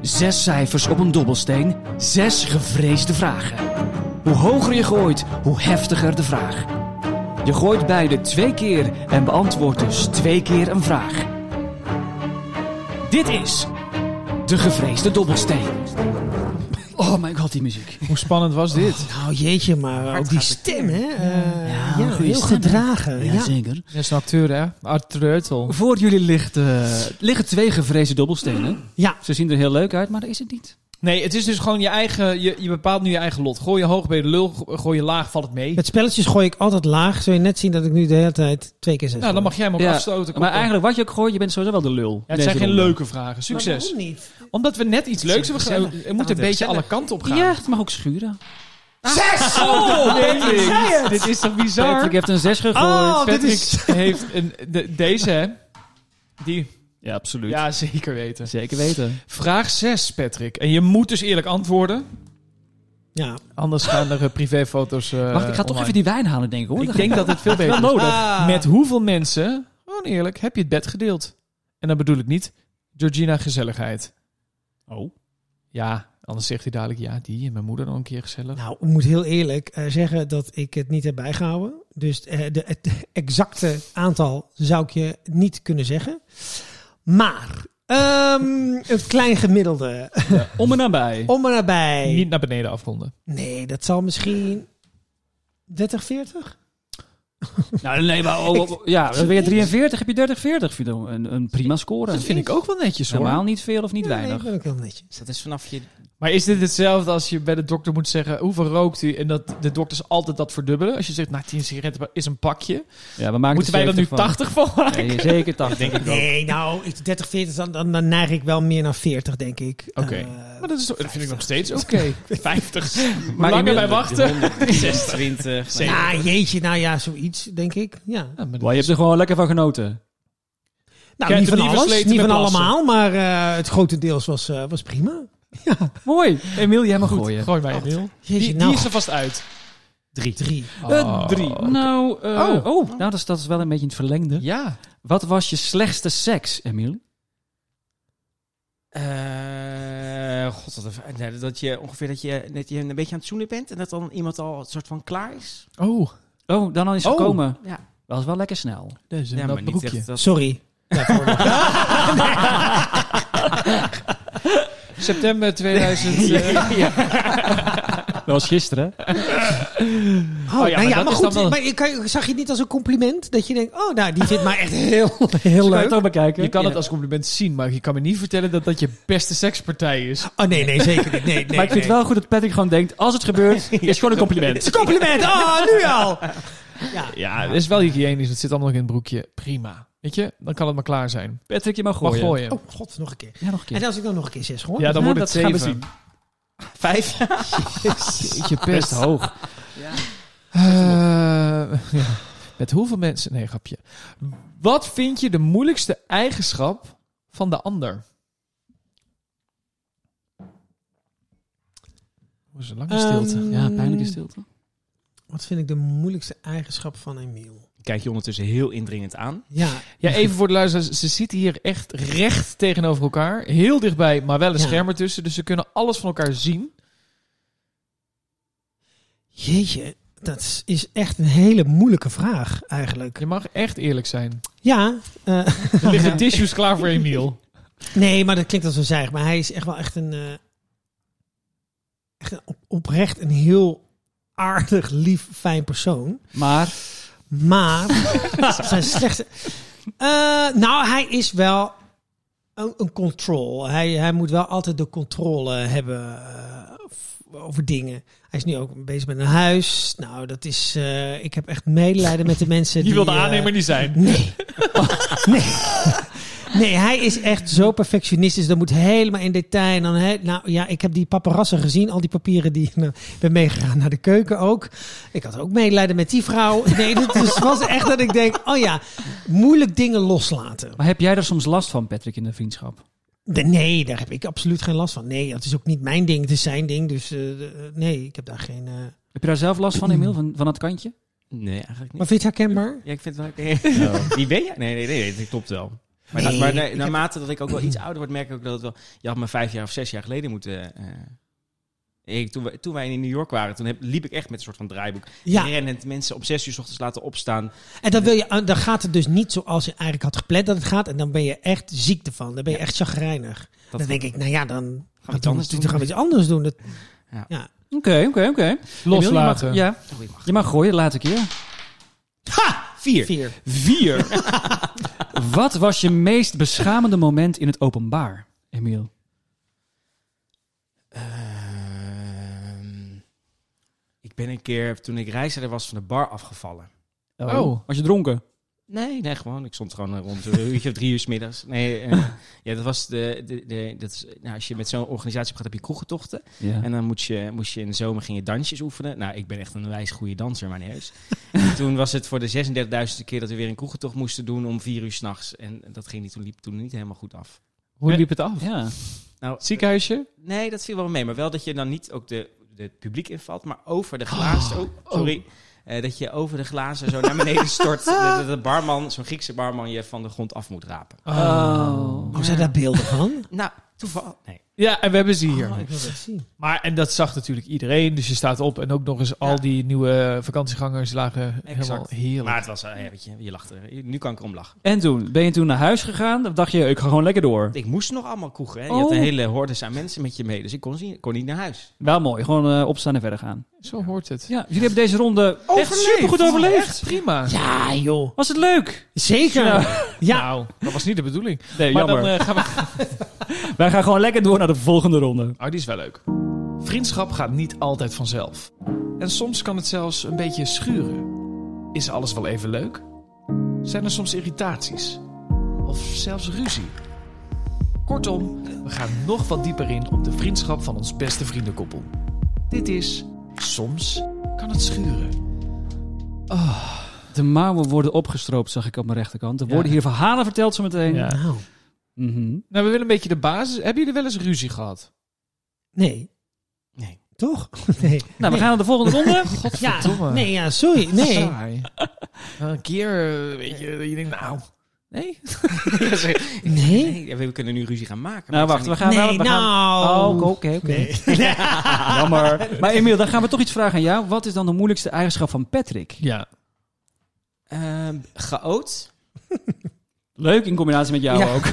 [SPEAKER 2] Zes cijfers op een dobbelsteen, zes gevreesde vragen. Hoe hoger je gooit, hoe heftiger de vraag. Je gooit beide twee keer en beantwoordt dus twee keer een vraag. Dit is de gevreesde dobbelsteen. Oh my god, die muziek.
[SPEAKER 4] Hoe spannend was dit?
[SPEAKER 5] Nou, jeetje, maar ook die stem, hè? Eh, ja,
[SPEAKER 2] goede
[SPEAKER 5] heel
[SPEAKER 2] stem, hè?
[SPEAKER 5] gedragen. Ja.
[SPEAKER 2] zeker.
[SPEAKER 4] Dat is een acteur, hè? Art Treutel.
[SPEAKER 2] Voor jullie ligt, eh, liggen twee gevreesde dobbelstenen.
[SPEAKER 5] Ja.
[SPEAKER 2] Ze zien er heel leuk uit, maar dat is het niet.
[SPEAKER 4] Nee, het is dus gewoon je eigen... Je, je bepaalt nu je eigen lot. Gooi je hoog bij de lul, go- gooi je laag, valt het mee. Nou,
[SPEAKER 5] Met spelletjes gooi ik altijd laag. Zul je net zien dat ik nu de hele tijd twee keer zes
[SPEAKER 4] Nou, dan mag jij hem ook
[SPEAKER 2] Ja,
[SPEAKER 4] afstoten. Kom
[SPEAKER 2] Maar
[SPEAKER 4] op.
[SPEAKER 2] eigenlijk, wat je ook gooit, je bent sowieso wel de lul.
[SPEAKER 4] Ja,
[SPEAKER 2] Deze
[SPEAKER 4] het zijn geen
[SPEAKER 2] ronde.
[SPEAKER 4] leuke vragen. Succes.
[SPEAKER 5] niet?
[SPEAKER 4] Omdat we net iets leuks hebben gedaan.
[SPEAKER 6] gezellig.
[SPEAKER 4] We moeten een beetje alle kanten op gaan. Oh,
[SPEAKER 2] Ja, het mag ook schuren.
[SPEAKER 5] Zes!
[SPEAKER 4] Patrick, dit is toch bizar?
[SPEAKER 2] Patrick heeft een 6 gegooid.
[SPEAKER 5] Oh, dit
[SPEAKER 4] Patrick
[SPEAKER 5] is...
[SPEAKER 4] heeft een, de- deze, hè? Die.
[SPEAKER 2] Ja, absoluut. Eh,
[SPEAKER 4] Ja, zeker weten.
[SPEAKER 2] Zeker weten.
[SPEAKER 4] Vraag 6, Patrick. En je moet dus eerlijk antwoorden.
[SPEAKER 5] Ja.
[SPEAKER 4] Anders gaan er eh, privéfoto's. eh,
[SPEAKER 2] Wacht, ik ga toch
[SPEAKER 4] online.
[SPEAKER 2] even die wijn halen, denk ik hoor.
[SPEAKER 4] Ik denk dat het veel beter is.
[SPEAKER 5] Ah.
[SPEAKER 4] Met hoeveel mensen, gewoon eerlijk, heb je het bed gedeeld? En dan bedoel ik niet Georgina gezelligheid.
[SPEAKER 2] Oh.
[SPEAKER 4] Ja, anders zegt hij dadelijk ja, die en mijn moeder nog een keer gezellig.
[SPEAKER 5] Nou, ik moet heel eerlijk eh, zeggen dat ik het niet heb bijgehouden. Dus eh, de, het exacte aantal zou ik je niet kunnen zeggen. Maar ehm, een klein gemiddelde.
[SPEAKER 2] Om en nabij.
[SPEAKER 5] Om en nabij.
[SPEAKER 4] Niet naar beneden
[SPEAKER 5] Oh,
[SPEAKER 4] afronden.
[SPEAKER 5] Nee, dat zal misschien 30, 40?
[SPEAKER 2] Nou, nee, maar oh, oh, oh, ja, weer 43 heb je 30, 40. Vind ik een, een prima score.
[SPEAKER 4] Dat vind ik ook wel netjes hoor.
[SPEAKER 2] Normaal niet veel of niet
[SPEAKER 5] Ja, Nee,
[SPEAKER 2] weinig.
[SPEAKER 5] ik ben ook heel netjes.
[SPEAKER 6] Dus dat is vanaf je...
[SPEAKER 4] Maar is dit hetzelfde als je bij de dokter moet zeggen hoeveel rookt u? En dat de dokters altijd dat verdubbelen. Als je zegt, nou 10 sigaretten per- is een pakje.
[SPEAKER 2] Ja, we maken
[SPEAKER 4] Moeten wij
[SPEAKER 2] er
[SPEAKER 4] dat nu
[SPEAKER 2] 70 van.
[SPEAKER 4] 80 van maken?
[SPEAKER 2] Nee, zeker 80. denk ik
[SPEAKER 5] Nee, nou, ik- 30, 40, dan, dan, dan neig ik wel meer naar 40, denk ik.
[SPEAKER 4] Oké.
[SPEAKER 5] Eh,
[SPEAKER 4] Maar dat, is, toch- dat vind ik nog steeds oké. 50.
[SPEAKER 2] Maar
[SPEAKER 4] Maar langer bij
[SPEAKER 2] inmiddels-
[SPEAKER 4] wachten.
[SPEAKER 6] 26.
[SPEAKER 5] ja, jeetje, nou ja, zoiets, denk ik. Ja.
[SPEAKER 4] Ja, maar dat
[SPEAKER 2] Maar je hebt er gewoon lekker van genoten.
[SPEAKER 5] Nou,
[SPEAKER 4] Jij hebt
[SPEAKER 5] niet van
[SPEAKER 4] hem niet
[SPEAKER 5] alles,
[SPEAKER 4] versleten
[SPEAKER 5] niet van
[SPEAKER 4] met plassen.
[SPEAKER 5] allemaal, maar eh, het grotendeels was, eh, was prima.
[SPEAKER 2] Mooi. Emiel, jij mag gooien.
[SPEAKER 4] Gooi mij een mail. Die,
[SPEAKER 5] Jeetje,
[SPEAKER 4] die
[SPEAKER 5] nou.
[SPEAKER 4] is er vast uit.
[SPEAKER 5] Drie. Drie.
[SPEAKER 2] Eh, drie. Nou, eh,
[SPEAKER 4] Oh.
[SPEAKER 2] oh. nou dat, is, dat is wel een beetje in het verlengde.
[SPEAKER 4] Ja.
[SPEAKER 2] Wat was je slechtste seks, Emiel?
[SPEAKER 6] Eh, God, wat een- nee, dat je ongeveer dat je, net je een beetje aan het zoenen bent en dat dan iemand al een soort van klaar is.
[SPEAKER 4] Oh,
[SPEAKER 2] Oh, dan al is
[SPEAKER 4] Oh.
[SPEAKER 2] gekomen.
[SPEAKER 6] Ja.
[SPEAKER 2] Dat was wel lekker snel.
[SPEAKER 4] Dus dat is een
[SPEAKER 6] ja,
[SPEAKER 4] nat broekje.
[SPEAKER 6] echt dat-
[SPEAKER 5] Sorry.
[SPEAKER 4] September 2000. eh,
[SPEAKER 2] Dat was gisteren.
[SPEAKER 5] Oh,
[SPEAKER 4] maar
[SPEAKER 5] nou ja,
[SPEAKER 4] dat is
[SPEAKER 5] maar goed,
[SPEAKER 4] dan wel-
[SPEAKER 5] maar je kan, zag je het niet als een compliment? Dat je denkt, oh, nou, die vindt mij echt heel, heel
[SPEAKER 2] Heel leuk.
[SPEAKER 5] leuk.
[SPEAKER 2] het ook bekijken.
[SPEAKER 4] Je kan het als compliment zien, maar je kan me niet vertellen dat dat je beste sekspartij is.
[SPEAKER 5] Oh, nee, nee, zeker niet. Nee, nee,
[SPEAKER 2] maar ik vind het wel goed dat Patrick gewoon denkt, als het gebeurt, is het gewoon een compliment.
[SPEAKER 5] Het is een compliment. Oh, nu al. Ja.
[SPEAKER 4] Ja, het is wel hygiënisch. Het zit allemaal nog in het broekje. Prima. Weet je, dan kan het maar klaar zijn.
[SPEAKER 2] Patrick, je mag
[SPEAKER 4] Mag
[SPEAKER 2] gooien.
[SPEAKER 4] gooien.
[SPEAKER 5] Oh, god, nog een keer.
[SPEAKER 2] Ja, nog een keer.
[SPEAKER 5] En als ik dan nog een keer zes hoor.
[SPEAKER 4] ja, dan
[SPEAKER 2] Ja,
[SPEAKER 4] wordt
[SPEAKER 2] dat
[SPEAKER 4] het
[SPEAKER 2] gaan we
[SPEAKER 4] zeven.
[SPEAKER 6] Vijf.
[SPEAKER 4] Jeetje,
[SPEAKER 2] Best
[SPEAKER 4] pest.
[SPEAKER 2] hoog.
[SPEAKER 4] Eh, ja. Met hoeveel mensen... Nee, grapje. Wat vind je de moeilijkste eigenschap van de ander? Hoe is een lange
[SPEAKER 2] Eh.
[SPEAKER 4] stilte?
[SPEAKER 5] Ehm,
[SPEAKER 2] Ja, pijnlijke stilte.
[SPEAKER 5] Wat vind ik de moeilijkste eigenschap van Emiel?
[SPEAKER 6] Kijk je ondertussen heel indringend aan.
[SPEAKER 5] Ja,
[SPEAKER 4] Ja, even voor de luisteraars. Ze zitten hier echt recht tegenover elkaar. Heel dichtbij, maar wel een
[SPEAKER 5] Ja.
[SPEAKER 4] scherm ertussen. Dus ze kunnen alles van elkaar zien.
[SPEAKER 5] jeetje. Dat is- is echt een hele moeilijke vraag eigenlijk.
[SPEAKER 4] Je mag echt eerlijk zijn.
[SPEAKER 5] Ja, eh,
[SPEAKER 4] Er liggen tissues klaar voor Emiel.
[SPEAKER 5] nee, maar dat klinkt als een zeig. Maar hij is echt wel echt een... eh, echt een op- oprecht een heel aardig, lief, fijn persoon.
[SPEAKER 2] Maar,
[SPEAKER 5] Maar zijn slechte. Eh, nou, hij is wel een, een control. Hij, hij moet wel altijd de controle hebben eh, f- over dingen. Hij is nu ook bezig met een huis. Nou, dat is. eh, ik heb echt medelijden met de mensen die.
[SPEAKER 4] Je wil de
[SPEAKER 5] eh,
[SPEAKER 4] aannemer niet zijn.
[SPEAKER 5] Nee. Oh, nee. Nee, hij is echt zo perfectionistisch. Dat moet helemaal in detail. En dan, hè, nou ja, ik heb die paparazzen gezien. Al die papieren die nou, ik ben meegegaan naar de keuken ook. Ik had ook medelijden met die vrouw. Nee, het was echt dat ik denk, oh ja, moeilijk dingen loslaten.
[SPEAKER 2] maar heb jij er soms last van, Patrick, in de vriendschap?
[SPEAKER 5] De- Nee, daar heb ik absoluut geen last van. Nee, dat is ook niet mijn ding. Het is zijn ding. Dus eh, de- nee, ik heb daar geen... eh,
[SPEAKER 2] Heb je daar zelf last van, Emiel, van, van dat kantje?
[SPEAKER 6] Nee, eigenlijk niet.
[SPEAKER 5] Maar vind je het herkenbaar?
[SPEAKER 6] Ja, ik vind het wel... Nee. Wie ben je? Nee, nee, nee, nee, dat klopt wel. Maar,
[SPEAKER 5] Nee,
[SPEAKER 6] na- maar nee,
[SPEAKER 5] ik heb-
[SPEAKER 6] naarmate dat ik ook wel iets ouder word, merk ik ook dat het wel... Je had me vijf jaar of zes jaar geleden moeten... eh, ik, toen, we- toen wij in New York waren, toen heb, liep ik echt met een soort van draaiboek.
[SPEAKER 5] Ja.
[SPEAKER 6] Rennend mensen om zes uur 's ochtends laten opstaan.
[SPEAKER 5] En dan, wil je, dan gaat het dus niet zoals je eigenlijk had gepland dat het gaat. En dan ben je echt ziek ervan. Dan ben je echt chagrijnig. dan denk ik, nou ja, dan gaan we
[SPEAKER 6] iets anders doen.
[SPEAKER 5] Dan gaan we iets anders doen. Dat, ja.
[SPEAKER 6] Ja.
[SPEAKER 2] Oké, oké, oké. Emiel, je mag-
[SPEAKER 4] Loslaten.
[SPEAKER 2] Ja,
[SPEAKER 6] Oh, je mag-
[SPEAKER 2] je mag gooien, laat ik keer.
[SPEAKER 6] Vier.
[SPEAKER 5] Vier.
[SPEAKER 2] Vier. Wat was je meest beschamende moment in het openbaar, Emiel?
[SPEAKER 6] Ehm, ik ben een keer, toen ik reisleider was, van de bar afgevallen.
[SPEAKER 4] Oh.
[SPEAKER 2] Was je dronken?
[SPEAKER 6] Nee, nee, gewoon. Ik stond gewoon rond een uurtje of drie uur 's middags. Nee, eh, ja, dat was de, de, de dat is, nou, als je met zo'n organisatie op gaat, heb je kroegentochten.
[SPEAKER 2] Ja.
[SPEAKER 6] En dan moest je, moest je in de zomer ging je dansjes oefenen. Nou, ik ben echt een wijs goede danser, maar niet heus. En toen was het voor de 36.000ste keer dat we weer een kroegentocht moesten doen om vier uur s'nachts. En dat ging niet, toen liep toen niet helemaal goed af.
[SPEAKER 4] Hoe liep het af?
[SPEAKER 2] Ja.
[SPEAKER 6] Nou,
[SPEAKER 4] Ziekenhuisje?
[SPEAKER 6] nee, dat viel wel mee. Maar wel dat je dan niet ook de, de het publiek invalt, maar over de glazen. Oh, sorry. Eh, dat je over de glazen zo naar beneden stort. Dat dat de barman, zo'n Griekse barman, je van de grond af moet rapen.
[SPEAKER 2] Oh.
[SPEAKER 5] Hoe zijn daar beelden van?
[SPEAKER 6] Nou, toeval. Nee.
[SPEAKER 4] Ja, en we hebben ze hier.
[SPEAKER 5] Oh, ik wil dat zien.
[SPEAKER 4] Maar, en dat zag natuurlijk iedereen. Dus je staat op en ook nog eens al die nieuwe vakantiegangers lagen helemaal heerlijk.
[SPEAKER 6] Maar het was, eh, ja, weet je, je lacht er. Nu kan ik erom lachen.
[SPEAKER 2] En toen, ben je toen naar huis gegaan? Of dacht je, ik ga gewoon lekker door?
[SPEAKER 6] Ik moest nog allemaal kroegen. Hè. Je
[SPEAKER 2] Oh.
[SPEAKER 6] had een hele hordes aan mensen met je mee. Dus ik kon, zien, kon niet naar huis.
[SPEAKER 2] Wel mooi, gewoon eh, opstaan en verder gaan.
[SPEAKER 4] Zo hoort het.
[SPEAKER 2] Ja, Oh, jullie hebben deze ronde echt supergoed overleefd.
[SPEAKER 4] Echt prima.
[SPEAKER 5] Ja, joh.
[SPEAKER 2] Was het leuk?
[SPEAKER 5] Zeker. Ja.
[SPEAKER 4] Nou, dat was niet de bedoeling.
[SPEAKER 2] Nee,
[SPEAKER 4] maar
[SPEAKER 2] jammer.
[SPEAKER 4] dan eh, gaan we...
[SPEAKER 2] Wij gaan gewoon lekker door naar de volgende ronde.
[SPEAKER 4] Oh, die is wel leuk. Vriendschap gaat niet altijd vanzelf. En soms kan het zelfs een beetje schuren. Is alles wel even leuk? Zijn er soms irritaties? Of zelfs ruzie? Kortom, we gaan nog wat dieper in op de vriendschap van ons beste vriendenkoppel. Dit is Soms kan het schuren.
[SPEAKER 2] De mouwen worden opgestroopt, zag ik op mijn rechterkant. Er worden
[SPEAKER 4] Ja.
[SPEAKER 2] hier verhalen verteld zo meteen.
[SPEAKER 4] Ja.
[SPEAKER 5] Nou,
[SPEAKER 2] Mhm.
[SPEAKER 4] Nou, we willen een beetje de basis. Hebben jullie wel eens ruzie gehad?
[SPEAKER 5] nee.
[SPEAKER 6] Nee.
[SPEAKER 5] Toch? Nee.
[SPEAKER 2] Nou, we gaan naar de volgende ronde.
[SPEAKER 5] Ja, nee, ja, sorry. Nee.
[SPEAKER 4] Saai. Een keer, eh, weet je, dat je denkt, nou...
[SPEAKER 6] Nee?
[SPEAKER 5] Nee.
[SPEAKER 6] nee we kunnen nu ruzie gaan maken. maar
[SPEAKER 2] nou,
[SPEAKER 6] ik
[SPEAKER 2] wacht,
[SPEAKER 6] zou
[SPEAKER 2] we
[SPEAKER 6] niet-
[SPEAKER 2] gaan... we
[SPEAKER 5] Nee,
[SPEAKER 2] gaan- we gaan-
[SPEAKER 5] nou.
[SPEAKER 2] Oh, oké, oké. oké.
[SPEAKER 5] Nee.
[SPEAKER 2] Jammer. Maar Emiel, dan gaan we toch iets vragen aan jou. Wat is dan de moeilijkste eigenschap van Patrick?
[SPEAKER 4] Ja.
[SPEAKER 6] Ehm, chaot.
[SPEAKER 2] Leuk in combinatie met jou
[SPEAKER 5] Ja.
[SPEAKER 2] ook.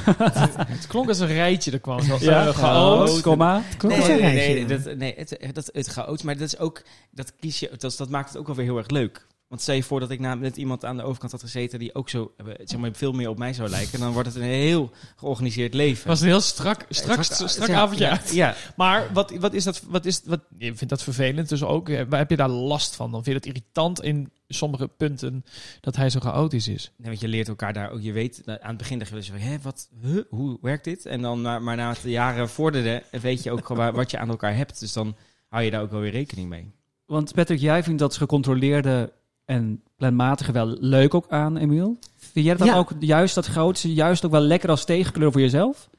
[SPEAKER 4] Het klonk als een rijtje, er kwam eh, zo.
[SPEAKER 2] Ja, chaos, komma.
[SPEAKER 5] Klopt
[SPEAKER 6] nee,
[SPEAKER 5] een
[SPEAKER 6] nee,
[SPEAKER 5] rijtje.
[SPEAKER 6] nee, dat, nee het, eh, dat, het chaot. Maar dat is ook, dat kies je, dat, is- dat maakt het ook alweer heel erg leuk. Want stel je voor dat ik na, met iemand aan de overkant had gezeten die ook zo, eh, zeg maar, veel meer op mij zou lijken. Dan wordt het een heel georganiseerd leven.
[SPEAKER 4] Het was een heel strak,
[SPEAKER 6] Het
[SPEAKER 4] strak,
[SPEAKER 6] was-
[SPEAKER 4] strak
[SPEAKER 6] ja,
[SPEAKER 4] avondje
[SPEAKER 6] ja,
[SPEAKER 4] uit.
[SPEAKER 6] Ja,
[SPEAKER 4] Maar wat, wat is dat? Wat is, wat, je vindt dat vervelend dus ook. eh, Maar heb je daar last van? Dan vind je het irritant in sommige punten dat hij zo chaotisch is.
[SPEAKER 6] Nee, want je leert elkaar daar ook. Je weet, eh, aan het begin dacht je wel eens van, hè, wat, huh, hoe werkt dit? En dan, maar, maar na de jaren vorderde, weet je ook gewoon waar- wat je aan elkaar hebt. Dus dan hou je daar ook wel weer rekening mee.
[SPEAKER 2] Want Patrick, jij vindt dat gecontroleerde en planmatige wel leuk ook aan, Emiel. Vind jij dat
[SPEAKER 5] Ja.
[SPEAKER 2] ook juist dat grootste, juist ook wel lekker als tegenkleur voor jezelf?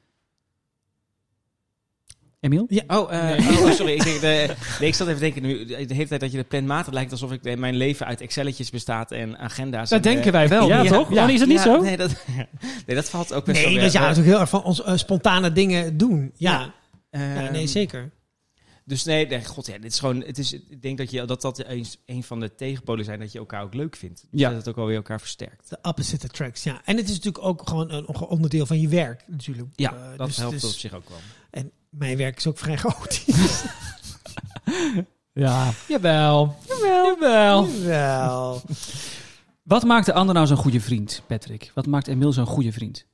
[SPEAKER 2] Emiel?
[SPEAKER 6] Oh, eh, oh, sorry. Ik, denk, eh, nee, ik zat even te denken nu. De hele tijd dat je de planmatig lijkt alsof ik, eh, mijn leven uit Excelletjes bestaat en agenda's.
[SPEAKER 4] Dat
[SPEAKER 6] en, eh,
[SPEAKER 4] denken wij wel.
[SPEAKER 2] Ja, toch?
[SPEAKER 6] ja.
[SPEAKER 2] Dan is het niet
[SPEAKER 6] Ja,
[SPEAKER 2] zo?
[SPEAKER 6] Nee dat, nee, dat valt ook best wel
[SPEAKER 5] Nee,
[SPEAKER 6] weer.
[SPEAKER 5] we zijn natuurlijk heel erg van ons eh, spontane dingen doen. Ja.
[SPEAKER 6] Eh,
[SPEAKER 5] Ja, nee, zeker.
[SPEAKER 6] Dus nee, nee, god, ja, dit is gewoon. Het is, ik denk dat je, dat, dat eens een van de tegenpolen zijn dat je elkaar ook leuk vindt.
[SPEAKER 2] Ja.
[SPEAKER 6] Dat het ook alweer elkaar versterkt.
[SPEAKER 5] De opposite attracts, ja. En het is natuurlijk ook gewoon een on- onderdeel van je werk, natuurlijk.
[SPEAKER 6] Ja,
[SPEAKER 5] Eh,
[SPEAKER 6] dat
[SPEAKER 5] dus-
[SPEAKER 6] helpt
[SPEAKER 5] dus-
[SPEAKER 6] op zich ook wel.
[SPEAKER 5] En mijn werk is ook vrij chaotisch.
[SPEAKER 2] Ja.
[SPEAKER 4] Jawel.
[SPEAKER 2] Jawel.
[SPEAKER 5] Wel.
[SPEAKER 2] Wat maakt de ander nou zo'n goede vriend, Patrick? Wat maakt Emiel zo'n goede vriend?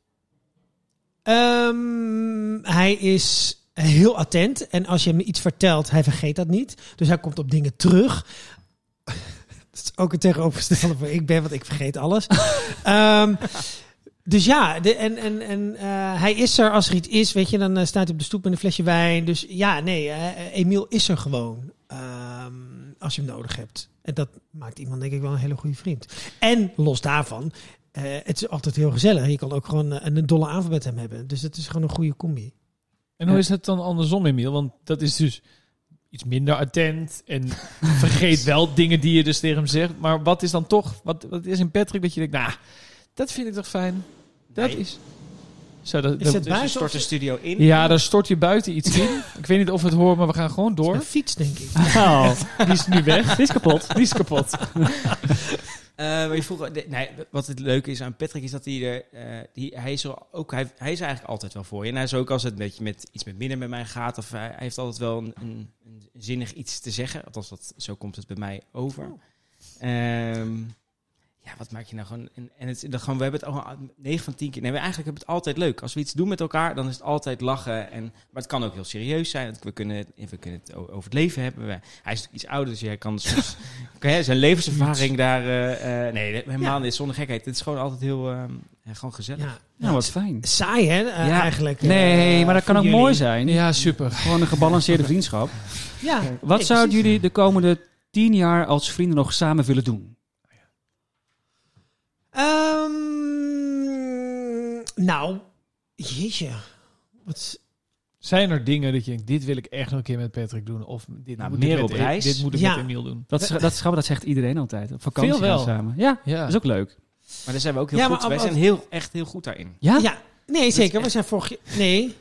[SPEAKER 5] Ehm, hij is heel attent. En als je hem iets vertelt, hij vergeet dat niet. Dus hij komt op dingen terug. dat is ook het tegenovergestelde van ik ben, want ik vergeet alles. Ehm, dus ja, de, en, en, en eh, hij is er als er iets is, weet je, dan eh, staat hij op de stoep met een flesje wijn. Dus ja, nee, eh, Emiel is er gewoon ehm, als je hem nodig hebt. En dat maakt iemand denk ik wel een hele goede vriend. En los daarvan, eh, het is altijd heel gezellig. Je kan ook gewoon eh, een dolle avond met hem hebben. Dus het is gewoon een goede combi.
[SPEAKER 4] En hoe is het dan andersom, Emiel? Want dat is dus iets minder attent en vergeet wel dingen die je dus tegen hem zegt. Maar wat is dan toch, wat, wat is in Patrick dat je denkt, nou, dat vind ik toch fijn. Dat
[SPEAKER 6] Nee.
[SPEAKER 4] is... Zo, dat,
[SPEAKER 5] Is
[SPEAKER 4] dat-
[SPEAKER 5] het
[SPEAKER 6] Dus je
[SPEAKER 5] buiten
[SPEAKER 6] stort
[SPEAKER 5] of
[SPEAKER 6] de studio in.
[SPEAKER 4] ja, daar stort je buiten iets in. ik weet niet of we het hoort, maar we gaan gewoon
[SPEAKER 5] een
[SPEAKER 4] door.
[SPEAKER 5] fiets, denk ik.
[SPEAKER 2] Oh,
[SPEAKER 4] Die is nu weg.
[SPEAKER 2] die is kapot.
[SPEAKER 4] Die is kapot.
[SPEAKER 6] Eh, maar je vroeg, de- nee, wat het leuke is aan Patrick is dat hij er, eh, die, hij is er ook, hij, hij is er eigenlijk altijd wel voor je. En hij is ook als het een beetje met iets met minder met mij gaat, of hij, hij heeft altijd wel een, een, een zinnig iets te zeggen. Althans, dat, zo komt het bij mij over. Ehm, ja, wat maak je nou gewoon? En, en het, dan gewoon, we hebben het al 9 van 10 keer. Nee, we eigenlijk hebben het altijd leuk. Als we iets doen met elkaar, dan is het altijd lachen. En, maar het kan ook heel serieus zijn. want We kunnen, het- we kunnen het o- over het leven hebben. We- hij is natuurlijk iets ouder, dus hij kan soms. hè, zijn levenservaring daar. eh, eh, nee, helemaal
[SPEAKER 5] Ja.
[SPEAKER 6] niet. Zonder gekheid. Het is gewoon altijd heel. eh, gewoon gezellig.
[SPEAKER 5] Ja.
[SPEAKER 2] Nou, wat fijn.
[SPEAKER 5] Saai, hè, eh,
[SPEAKER 6] Ja.
[SPEAKER 5] eigenlijk. eh,
[SPEAKER 2] Nee, maar dat kan ook
[SPEAKER 5] voor
[SPEAKER 2] mooi
[SPEAKER 5] jullie.
[SPEAKER 2] zijn.
[SPEAKER 4] Ja, super.
[SPEAKER 2] Gewoon een gebalanceerde vriendschap.
[SPEAKER 5] Ja.
[SPEAKER 2] Wat
[SPEAKER 5] Nee,
[SPEAKER 2] zouden
[SPEAKER 5] precies.
[SPEAKER 2] jullie de komende tien jaar als vrienden nog samen willen doen?
[SPEAKER 5] Ehm, nou, jeetje. Wat,
[SPEAKER 4] Zijn er dingen dat je denkt, dit wil ik echt nog een keer met Patrick doen? Of dit,
[SPEAKER 6] Nou,
[SPEAKER 4] moet,
[SPEAKER 6] meer
[SPEAKER 4] ik met,
[SPEAKER 6] op reis.
[SPEAKER 4] dit moet ik
[SPEAKER 5] Ja.
[SPEAKER 4] met Emiel doen?
[SPEAKER 2] Dat, is- dat, is grappig, dat zegt iedereen altijd. Op vakantie
[SPEAKER 4] Veel wel.
[SPEAKER 2] gaan samen. Ja,
[SPEAKER 4] Ja.
[SPEAKER 2] dat is ook leuk.
[SPEAKER 6] Maar daar zijn we ook heel
[SPEAKER 5] Ja,
[SPEAKER 6] goed.
[SPEAKER 5] maar
[SPEAKER 6] Wij
[SPEAKER 5] ab-
[SPEAKER 6] zijn heel, echt heel goed daarin.
[SPEAKER 2] Ja?
[SPEAKER 5] ja, nee, zeker. We zijn vorig jaar... Nee,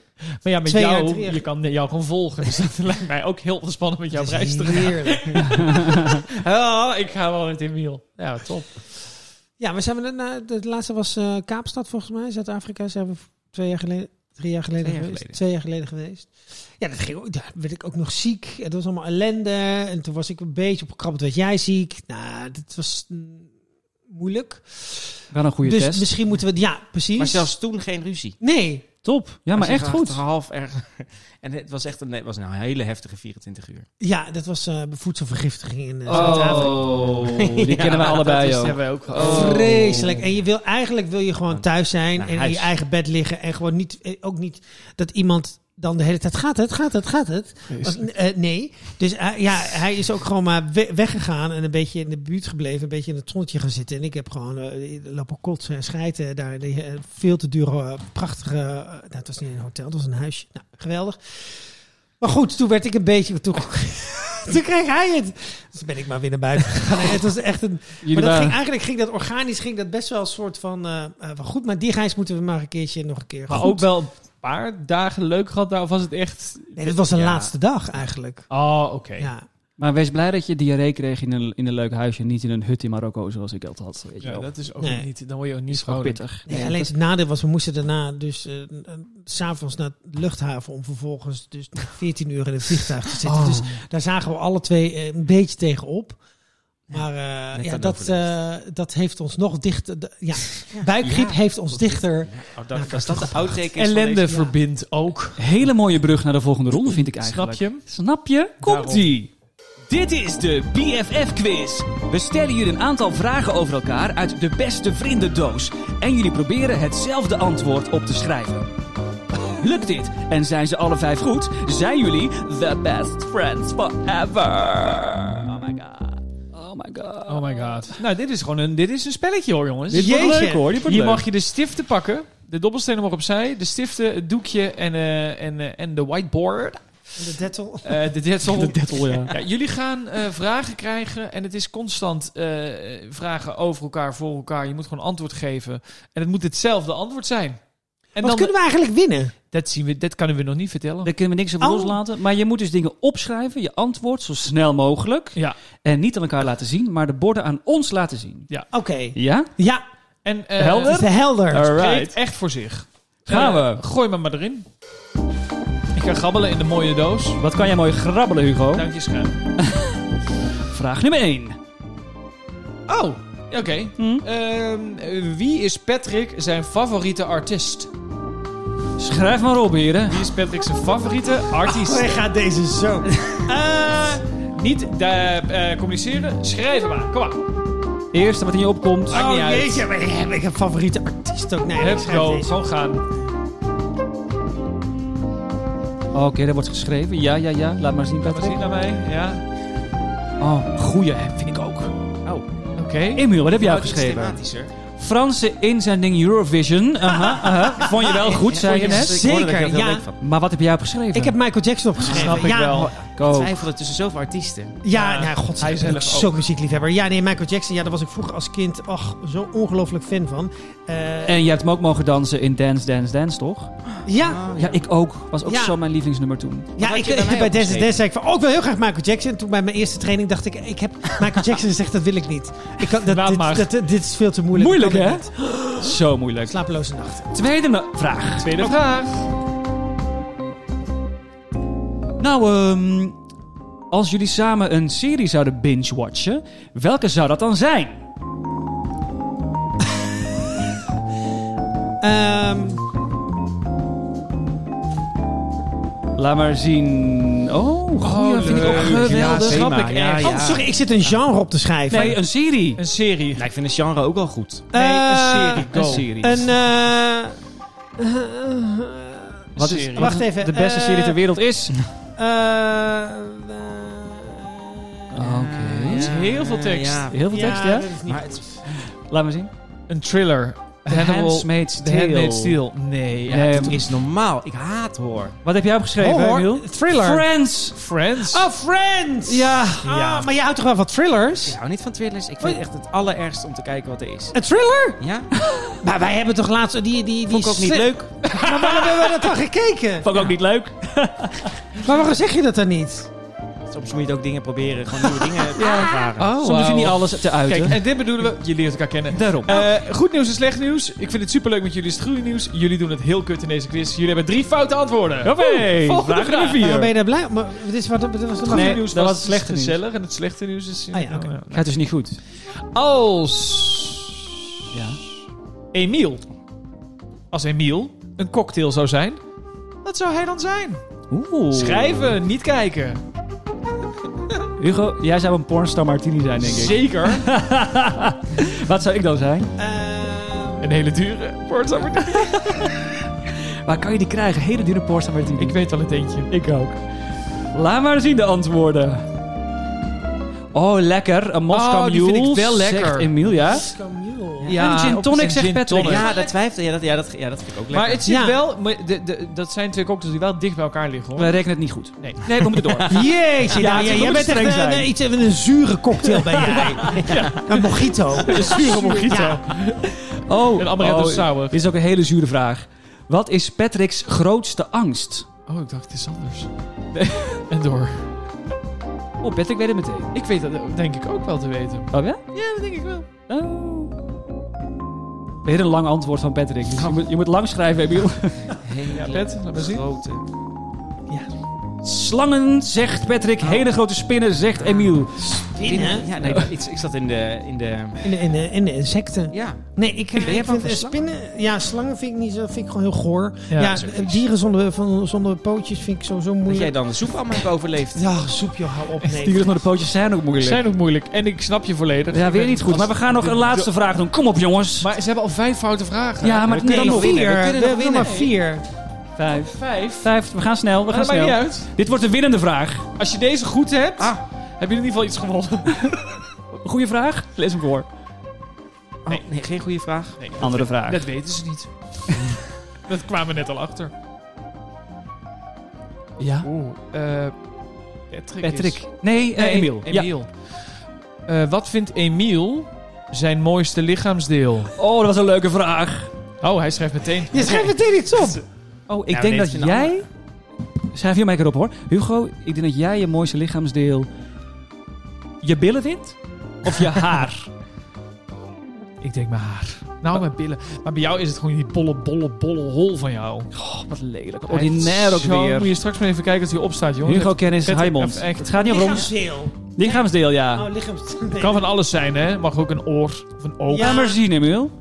[SPEAKER 4] Maar ja, met
[SPEAKER 5] Twee jaar
[SPEAKER 4] jou,
[SPEAKER 5] terug.
[SPEAKER 4] je kan jou gewoon volgen. Dus dat lijkt mij ook heel spannend met jouw
[SPEAKER 5] dat is
[SPEAKER 4] reis te gaan.
[SPEAKER 5] heerlijk.
[SPEAKER 4] Oh, ik ga wel met Emiel. Ja, top.
[SPEAKER 5] Ja, maar zijn we... daarna- De, de laatste was eh, Kaapstad, volgens mij. Zuid-Afrika zijn we v- twee jaar geleden... Drie jaar geleden
[SPEAKER 6] Twee jaar
[SPEAKER 5] geweest.
[SPEAKER 6] geleden.
[SPEAKER 5] Twee jaar geleden geweest. Ja, dat ging ook, daar werd ik ook nog ziek. Het was allemaal ellende. En toen was ik een beetje opgekrabbeld. Werd jij ziek? Nou, dat was mm, moeilijk.
[SPEAKER 2] Wel een goede
[SPEAKER 5] dus
[SPEAKER 2] test.
[SPEAKER 5] misschien moeten we... het- Ja, precies.
[SPEAKER 6] Maar zelfs toen geen ruzie.
[SPEAKER 5] Nee,
[SPEAKER 2] Top. Ja, maar
[SPEAKER 6] Hij
[SPEAKER 2] echt
[SPEAKER 6] zat
[SPEAKER 2] goed.
[SPEAKER 6] achter half erg. En het was echt een, het was nou een hele heftige 24 uur.
[SPEAKER 5] Ja, dat was eh voedselvergiftiging in eh, Zuid-Afrika.
[SPEAKER 2] Oh, die kennen we allebei
[SPEAKER 4] Dat
[SPEAKER 2] ook.
[SPEAKER 4] hebben we ook.
[SPEAKER 5] Oh. Vreselijk. En je wil, eigenlijk wil je gewoon thuis zijn
[SPEAKER 6] Naar
[SPEAKER 5] en in
[SPEAKER 6] huis.
[SPEAKER 5] je eigen bed liggen. En gewoon niet, eh, ook niet dat iemand dan de hele tijd gaat het, gaat het, gaat het. Want, eh, nee. Dus hij- ja, hij is ook gewoon maar we- weggegaan en een beetje in de buurt gebleven. Een beetje in het zonnetje gaan zitten. En ik heb gewoon eh, lopen kotsen en schijten daar. in die, eh, veel te dure, eh, prachtige... eh, nou, het was niet een hotel, het was een huisje. Nou, geweldig. Maar goed, toen werd ik een beetje... Toen, toen kreeg hij het. Dus ben ik maar weer naar buiten gegaan. Nee, Het was echt een...
[SPEAKER 2] Jullie
[SPEAKER 5] Maar dat ging,
[SPEAKER 2] waren...
[SPEAKER 5] eigenlijk ging dat organisch ging dat best wel een soort van... eh, eh, wel goed, maar die reis moeten we maar een keertje nog een keer...
[SPEAKER 4] Maar
[SPEAKER 5] goed.
[SPEAKER 4] ook wel een paar dagen leuk gehad daar. Of was het echt...
[SPEAKER 5] Nee, dit was de
[SPEAKER 4] Ja.
[SPEAKER 5] laatste dag eigenlijk.
[SPEAKER 4] Oh, oké.
[SPEAKER 5] Ja.
[SPEAKER 2] Maar wees blij dat je diarree kreeg in een, in een leuk huisje. Niet in een hut in Marokko zoals ik dat had. Weet je
[SPEAKER 4] Ja,
[SPEAKER 2] wel.
[SPEAKER 4] dat is ook
[SPEAKER 5] Nee.
[SPEAKER 4] niet... Dan word je ook niet
[SPEAKER 2] is ook
[SPEAKER 4] vrolijk.
[SPEAKER 2] pittig.
[SPEAKER 5] Nee, alleen het nadeel was, we moesten daarna dus eh, n- n- s s'avonds naar de luchthaven... om vervolgens dus nog 14 uur in het vliegtuig te
[SPEAKER 4] Oh.
[SPEAKER 5] zitten. Dus daar zagen we alle twee eh, een beetje tegenop. Maar eh,
[SPEAKER 6] net
[SPEAKER 5] ja,
[SPEAKER 6] aan
[SPEAKER 5] dat, eh, dat heeft ons nog dichter... d- ja, buikgriep heeft ons dichter...
[SPEAKER 6] Oh,
[SPEAKER 5] Nou,
[SPEAKER 6] dat, was dat de outtake is van
[SPEAKER 4] Ellende
[SPEAKER 6] deze-
[SPEAKER 4] verbindt ook.
[SPEAKER 2] Hele mooie brug naar de volgende ronde vind ik eigenlijk.
[SPEAKER 4] Snap je hem?
[SPEAKER 2] Snap je? Komt-ie! Dit is de BFF-quiz. We stellen jullie een aantal vragen over elkaar uit de beste vriendendoos. En jullie proberen hetzelfde antwoord op te schrijven. Lukt dit en zijn ze alle vijf goed, zijn jullie the best friends forever. Oh my god. Oh my god.
[SPEAKER 4] Oh my god. Nou, dit is gewoon een, dit is een spelletje hoor, jongens.
[SPEAKER 2] Dit wordt leuk hoor, dit wordt
[SPEAKER 4] Hier
[SPEAKER 2] leuk.
[SPEAKER 4] mag je de stiften pakken. De dobbelstenen mogen opzij. De stiften, het doekje en, eh, en, eh, en de whiteboard.
[SPEAKER 5] De dettel.
[SPEAKER 4] Eh, de detel.
[SPEAKER 2] De dettel, ja.
[SPEAKER 4] Ja, jullie gaan eh, vragen krijgen en het is constant eh, vragen over elkaar, voor elkaar. Je moet gewoon antwoord geven en het moet hetzelfde antwoord zijn. En
[SPEAKER 5] Wat kunnen we eigenlijk winnen?
[SPEAKER 4] dat, zien we, dat kunnen we nog niet vertellen.
[SPEAKER 2] Daar kunnen we niks over
[SPEAKER 5] Oh.
[SPEAKER 2] loslaten. Maar je moet dus dingen opschrijven, je antwoord zo snel mogelijk.
[SPEAKER 4] Ja.
[SPEAKER 2] En niet aan elkaar laten zien, maar de borden aan ons laten zien.
[SPEAKER 5] Oké.
[SPEAKER 2] Ja?
[SPEAKER 5] Ja,
[SPEAKER 4] En, eh,
[SPEAKER 5] het is de helder.
[SPEAKER 4] Spreekt echt voor zich.
[SPEAKER 2] Gaan
[SPEAKER 4] Eh,
[SPEAKER 2] we.
[SPEAKER 4] Gooi me maar erin. Ik ga grabbelen in de mooie doos.
[SPEAKER 2] Wat kan jij mooi grabbelen, Hugo?
[SPEAKER 4] Dank je, schuim.
[SPEAKER 2] Vraag nummer 1.
[SPEAKER 4] Oh, oké.
[SPEAKER 2] Hm?
[SPEAKER 4] Ehm, eh, wie is Patrick zijn favoriete artiest?
[SPEAKER 2] Schrijf maar op, heren.
[SPEAKER 4] Wie is Patrick zijn favoriete artiest?
[SPEAKER 5] Hij gaat deze zo.
[SPEAKER 4] Eh, niet eh, eh, communiceren, schrijven maar. Kom maar.
[SPEAKER 2] Eerste wat in je opkomt.
[SPEAKER 4] Maakt
[SPEAKER 5] Oh
[SPEAKER 4] niet uit.
[SPEAKER 5] jeetje, maar ik heb ik heb een favoriete artiest ook. Nee, ik
[SPEAKER 4] Let's
[SPEAKER 5] schrijf
[SPEAKER 4] go,
[SPEAKER 5] deze.
[SPEAKER 4] gewoon gaan.
[SPEAKER 2] Oh, Oké, dat wordt geschreven. Ja, ja, ja. Laat maar zien,
[SPEAKER 4] Laat maar zien
[SPEAKER 2] Patrick.
[SPEAKER 4] naar mij. Ja.
[SPEAKER 2] Oh, goeie vind ik ook.
[SPEAKER 4] Oké.
[SPEAKER 2] Emiel, wat heb jij
[SPEAKER 6] Oh, dit is
[SPEAKER 2] geschreven?
[SPEAKER 6] thematischer.
[SPEAKER 2] Franse inzending Eurovision. Aha, aha. Vond je wel goed, zei je net.
[SPEAKER 6] Ik hoorde dat je dat
[SPEAKER 5] Zeker,
[SPEAKER 6] heel
[SPEAKER 5] ja.
[SPEAKER 6] leuk vond.
[SPEAKER 2] Maar wat heb jij opgeschreven?
[SPEAKER 5] Ik heb Michael Jackson opgeschreven.
[SPEAKER 4] Snap ik
[SPEAKER 5] ja,
[SPEAKER 4] wel.
[SPEAKER 6] Ik
[SPEAKER 2] Go.
[SPEAKER 6] twijfelde tussen zoveel artiesten.
[SPEAKER 5] Ja,
[SPEAKER 4] Ja,
[SPEAKER 5] nou, god,
[SPEAKER 4] hij
[SPEAKER 5] hij
[SPEAKER 4] zelf
[SPEAKER 5] is zo'n muziekliefhebber. Ja, nee, Michael Jackson, ja, daar was ik vroeger als kind ach, zo ongelooflijk fan van. Eh,
[SPEAKER 2] En je hebt hem ook mogen dansen in Dance, Dance, Dance, toch?
[SPEAKER 5] ja,
[SPEAKER 2] Ja, ik ook. Was ook
[SPEAKER 5] Ja.
[SPEAKER 2] zo mijn lievelingsnummer toen.
[SPEAKER 5] ja
[SPEAKER 6] had
[SPEAKER 5] ik,
[SPEAKER 6] je bij
[SPEAKER 5] ik-
[SPEAKER 6] mij
[SPEAKER 5] bij Dance
[SPEAKER 6] opgeschreven?
[SPEAKER 5] Dance zei ik van, oh, ik wil heel graag Michael Jackson. Toen bij mijn eerste training dacht ik, ik heb Michael Jackson gezegd, dat wil ik niet. Ik kan, dat,
[SPEAKER 4] Laat
[SPEAKER 5] dit,
[SPEAKER 4] maar.
[SPEAKER 5] dat- dit is veel te moeilijk.
[SPEAKER 2] Moeilijk,
[SPEAKER 5] Dat kan
[SPEAKER 2] hè?
[SPEAKER 5] ik niet.
[SPEAKER 2] Zo moeilijk.
[SPEAKER 5] Slapeloze nacht.
[SPEAKER 2] Tweede na- vraag.
[SPEAKER 4] Tweede vraag.
[SPEAKER 2] Nou, ehm, als jullie samen een serie zouden binge-watchen, welke zou dat dan zijn?
[SPEAKER 5] Ehm,
[SPEAKER 2] Laat maar zien. Oh, goeie,
[SPEAKER 4] Oh,
[SPEAKER 2] vind ik ook
[SPEAKER 4] leuk.
[SPEAKER 2] geweldig.
[SPEAKER 4] Ja,
[SPEAKER 2] Snap
[SPEAKER 4] thema.
[SPEAKER 2] ik
[SPEAKER 4] Ja,
[SPEAKER 2] echt.
[SPEAKER 4] Nou ja.
[SPEAKER 5] oh, sorry, ik zit een genre op te schrijven.
[SPEAKER 2] Nee, een serie.
[SPEAKER 4] Een serie.
[SPEAKER 6] Nou, ik vind het genre ook wel goed.
[SPEAKER 4] Nee, een
[SPEAKER 5] Eh,
[SPEAKER 4] serie. Go.
[SPEAKER 2] Een serie.
[SPEAKER 5] Een. eh, eh,
[SPEAKER 2] Wat is
[SPEAKER 4] serie.
[SPEAKER 5] Wacht even.
[SPEAKER 2] de beste
[SPEAKER 5] eh,
[SPEAKER 2] serie ter wereld is?
[SPEAKER 5] eh, eh,
[SPEAKER 2] Oké.
[SPEAKER 4] is heel veel tekst.
[SPEAKER 6] Ja,
[SPEAKER 2] Heel veel tekst, ja?
[SPEAKER 5] dat is niet
[SPEAKER 6] Maar
[SPEAKER 5] goed.
[SPEAKER 2] Laat maar zien.
[SPEAKER 4] Een thriller.
[SPEAKER 2] The Handmaid's
[SPEAKER 4] The
[SPEAKER 2] Tale.
[SPEAKER 4] Handmaid's Tale. Nee.
[SPEAKER 2] Nee,
[SPEAKER 6] het is normaal. Ik haat hoor.
[SPEAKER 2] Wat heb jij opgeschreven,
[SPEAKER 5] Oh, hoor.
[SPEAKER 2] Michiel?
[SPEAKER 5] Thriller.
[SPEAKER 2] Friends.
[SPEAKER 4] Friends.
[SPEAKER 5] Oh, Friends!
[SPEAKER 2] Ja.
[SPEAKER 5] Ah, maar je houdt toch wel van thrillers?
[SPEAKER 6] Ik hou niet van thrillers. Ik vind het echt het allerergste om te kijken wat er is.
[SPEAKER 5] Een thriller?
[SPEAKER 6] Ja?
[SPEAKER 5] Maar wij hebben toch laatst die... die, die
[SPEAKER 6] Vond ik ook niet
[SPEAKER 5] sli-
[SPEAKER 6] leuk.
[SPEAKER 5] Maar waarom hebben we dat dan gekeken?
[SPEAKER 2] Vond ik ook niet leuk.
[SPEAKER 5] Maar waarom zeg je dat dan niet?
[SPEAKER 6] Soms moet je ook dingen proberen. Gewoon nieuwe dingen te ervaren.
[SPEAKER 4] Oh,
[SPEAKER 2] Soms hoef je
[SPEAKER 4] wauw.
[SPEAKER 2] niet alles te uiten.
[SPEAKER 4] Kijk, en dit bedoelen we. Je leert elkaar kennen.
[SPEAKER 2] Daarom.
[SPEAKER 4] Eh, goed nieuws en slecht nieuws. Ik vind het superleuk met jullie. Het is het goede nieuws. Jullie doen het heel kut in deze quiz. Jullie hebben drie foute antwoorden.
[SPEAKER 2] Hoppé,
[SPEAKER 4] Oeh, volgende
[SPEAKER 2] vraag nummer
[SPEAKER 4] vraag.
[SPEAKER 2] vier.
[SPEAKER 5] Waarom Oh, eh, ben je daar blij... Maar dit is wat... Dit was de
[SPEAKER 4] Het
[SPEAKER 5] nee.
[SPEAKER 4] goede nieuws
[SPEAKER 2] dat
[SPEAKER 4] was
[SPEAKER 2] was het slechte nieuws.
[SPEAKER 4] gezellig en het slechte nieuws is...
[SPEAKER 5] Ah ja, oké.
[SPEAKER 4] Nou,
[SPEAKER 2] Gaat dus niet goed.
[SPEAKER 4] Als
[SPEAKER 2] Ja.
[SPEAKER 4] Emiel, als Emiel een cocktail zou zijn, wat zou hij dan zijn?
[SPEAKER 2] Oeh.
[SPEAKER 4] Schrijven, niet kijken.
[SPEAKER 2] Hugo, jij zou een pornstar martini zijn, denk ik.
[SPEAKER 4] Zeker.
[SPEAKER 2] Wat zou ik dan zijn?
[SPEAKER 4] een hele dure porto.
[SPEAKER 2] Waar kan je die krijgen? Hele dure pornstar martini.
[SPEAKER 4] Ik weet wel het eentje.
[SPEAKER 2] Ik ook. Laat maar zien de antwoorden. Oh, lekker. Een Moskou
[SPEAKER 4] Oh, die
[SPEAKER 2] Mule,
[SPEAKER 4] vind ik wel lekker.
[SPEAKER 2] zegt Emilia.
[SPEAKER 5] Eh,
[SPEAKER 2] Ja, een gin
[SPEAKER 4] op
[SPEAKER 2] tonic,
[SPEAKER 4] zijn
[SPEAKER 2] zegt
[SPEAKER 4] gin
[SPEAKER 2] Patrick.
[SPEAKER 4] tonic.
[SPEAKER 6] Ja, dat twijfel. Ja, dat, ja, dat, ja, dat vind ik ook lekker.
[SPEAKER 4] Oh, Maar het zit
[SPEAKER 5] Ja.
[SPEAKER 4] wel... maar de- de- dat zijn twee cocktails die wel dicht bij elkaar liggen, hoor.
[SPEAKER 2] We rekenen het niet goed.
[SPEAKER 4] Nee.
[SPEAKER 2] Nee, we moeten door.
[SPEAKER 5] Jeetje,
[SPEAKER 2] Ja,
[SPEAKER 5] nou,
[SPEAKER 2] het
[SPEAKER 5] jij-
[SPEAKER 2] moet
[SPEAKER 5] jij bent echt
[SPEAKER 2] streng
[SPEAKER 5] een,
[SPEAKER 2] zijn.
[SPEAKER 5] een- iets, een, een zure cocktail ben jij. Een mojito.
[SPEAKER 4] Een zure mojito.
[SPEAKER 2] Oh,
[SPEAKER 4] Een amaretto
[SPEAKER 2] oh,
[SPEAKER 4] sour.
[SPEAKER 2] Dit is ook een hele zure vraag. Wat is Patrick's grootste angst?
[SPEAKER 4] Oh, ik dacht, het is anders. en door.
[SPEAKER 2] Oh, Patrick weet het meteen.
[SPEAKER 4] Ik weet dat denk ik ook wel te weten.
[SPEAKER 2] Oh ja?
[SPEAKER 4] Ja, dat denk ik wel.
[SPEAKER 2] Oh. Weer een lang antwoord van Patrick. Dus je, moet, je moet lang schrijven, Emiel.
[SPEAKER 4] Ja, Pet, laat maar zien.
[SPEAKER 6] grote.
[SPEAKER 2] Slangen, zegt Patrick. Hele grote spinnen, zegt Emiel.
[SPEAKER 5] Binnen.
[SPEAKER 6] Ja, nee, dat- iets- ik zat in de... In de
[SPEAKER 5] In de, in de, in de insecten.
[SPEAKER 6] ja.
[SPEAKER 5] Nee, ik,
[SPEAKER 6] hebt
[SPEAKER 5] ik vind
[SPEAKER 6] wel
[SPEAKER 5] eh,
[SPEAKER 6] slangen.
[SPEAKER 5] spinnen... Ja, slangen vind ik niet zo... vind ik gewoon heel goor. Ja,
[SPEAKER 4] Ja,
[SPEAKER 5] eh, dieren zonder, van, zonder pootjes vind ik sowieso
[SPEAKER 6] Dat
[SPEAKER 5] moeilijk.
[SPEAKER 6] jij dan de soep allemaal hebt overleefd.
[SPEAKER 5] Ja, soep joh, hou op. Nee.
[SPEAKER 2] Dieren met de pootjes zijn ook moeilijk.
[SPEAKER 4] Zijn ook moeilijk. En ik snap je volledig.
[SPEAKER 2] Ja,
[SPEAKER 4] Ik
[SPEAKER 2] weer
[SPEAKER 4] ben-
[SPEAKER 2] niet goed. Maar we gaan nog een laatste vraag doen. Kom op, jongens.
[SPEAKER 4] Maar ze hebben al vijf foute vragen.
[SPEAKER 2] ja, maar
[SPEAKER 6] we kunnen
[SPEAKER 2] dan
[SPEAKER 6] nog
[SPEAKER 2] nog.
[SPEAKER 6] winnen.
[SPEAKER 5] Vier.
[SPEAKER 6] We kunnen nog
[SPEAKER 5] We hebben
[SPEAKER 6] winnen.
[SPEAKER 5] maar vier.
[SPEAKER 2] Vijf.
[SPEAKER 4] Vijf.
[SPEAKER 2] Vijf. We gaan snel. We
[SPEAKER 4] Maar
[SPEAKER 2] gaan
[SPEAKER 4] dat maakt niet
[SPEAKER 2] snel.
[SPEAKER 4] uit.
[SPEAKER 2] Dit wordt de winnende vraag.
[SPEAKER 4] Als je deze goed hebt,
[SPEAKER 6] Ah.
[SPEAKER 4] heb je in ieder geval iets gewonnen.
[SPEAKER 2] Goeie vraag. Lees hem voor.
[SPEAKER 6] Oh, Nee, nee, geen goede vraag.
[SPEAKER 2] Andere vraag.
[SPEAKER 4] Dat weten ze niet. dat kwamen we net al achter.
[SPEAKER 2] Ja.
[SPEAKER 4] Oeh. eh, Patrick. is-
[SPEAKER 2] Patrick. Nee, eh,
[SPEAKER 4] Nee,
[SPEAKER 2] Emiel. Ja.
[SPEAKER 4] Emiel. Eh, wat vindt Emiel zijn mooiste lichaamsdeel?
[SPEAKER 2] Oh, dat was een leuke vraag.
[SPEAKER 4] Oh, hij schrijft meteen.
[SPEAKER 5] Je schrijft meteen iets op.
[SPEAKER 2] Oh, ik
[SPEAKER 6] Nou,
[SPEAKER 2] denk
[SPEAKER 6] deze
[SPEAKER 2] dat
[SPEAKER 6] vind ik
[SPEAKER 2] jij... Schrijf je mij erop hoor. Hugo, ik denk dat jij je mooiste lichaamsdeel... Je billen vindt? Of je haar?
[SPEAKER 4] Ik denk mijn haar. Nou, mijn billen. Maar bij jou is het gewoon die bolle, bolle, bolle hol van jou.
[SPEAKER 2] Oh, wat lelijk. Ordinair ook
[SPEAKER 4] Zo, Moet
[SPEAKER 2] weer.
[SPEAKER 4] je straks maar even kijken als hij opstaat, jongen.
[SPEAKER 2] Hugo Kennis,
[SPEAKER 4] Patrick,
[SPEAKER 2] Raymond.
[SPEAKER 4] even echt.
[SPEAKER 2] Het gaat niet Ah. over ons.
[SPEAKER 5] Lichaamsdeel.
[SPEAKER 2] Lichaamsdeel,
[SPEAKER 5] Oh,
[SPEAKER 2] ja.
[SPEAKER 5] lichaams...
[SPEAKER 4] Het
[SPEAKER 5] nee.
[SPEAKER 4] kan van alles zijn, hè? Mag ook een oor of een oog.
[SPEAKER 5] Ja.
[SPEAKER 2] Laat maar zien, Emiel.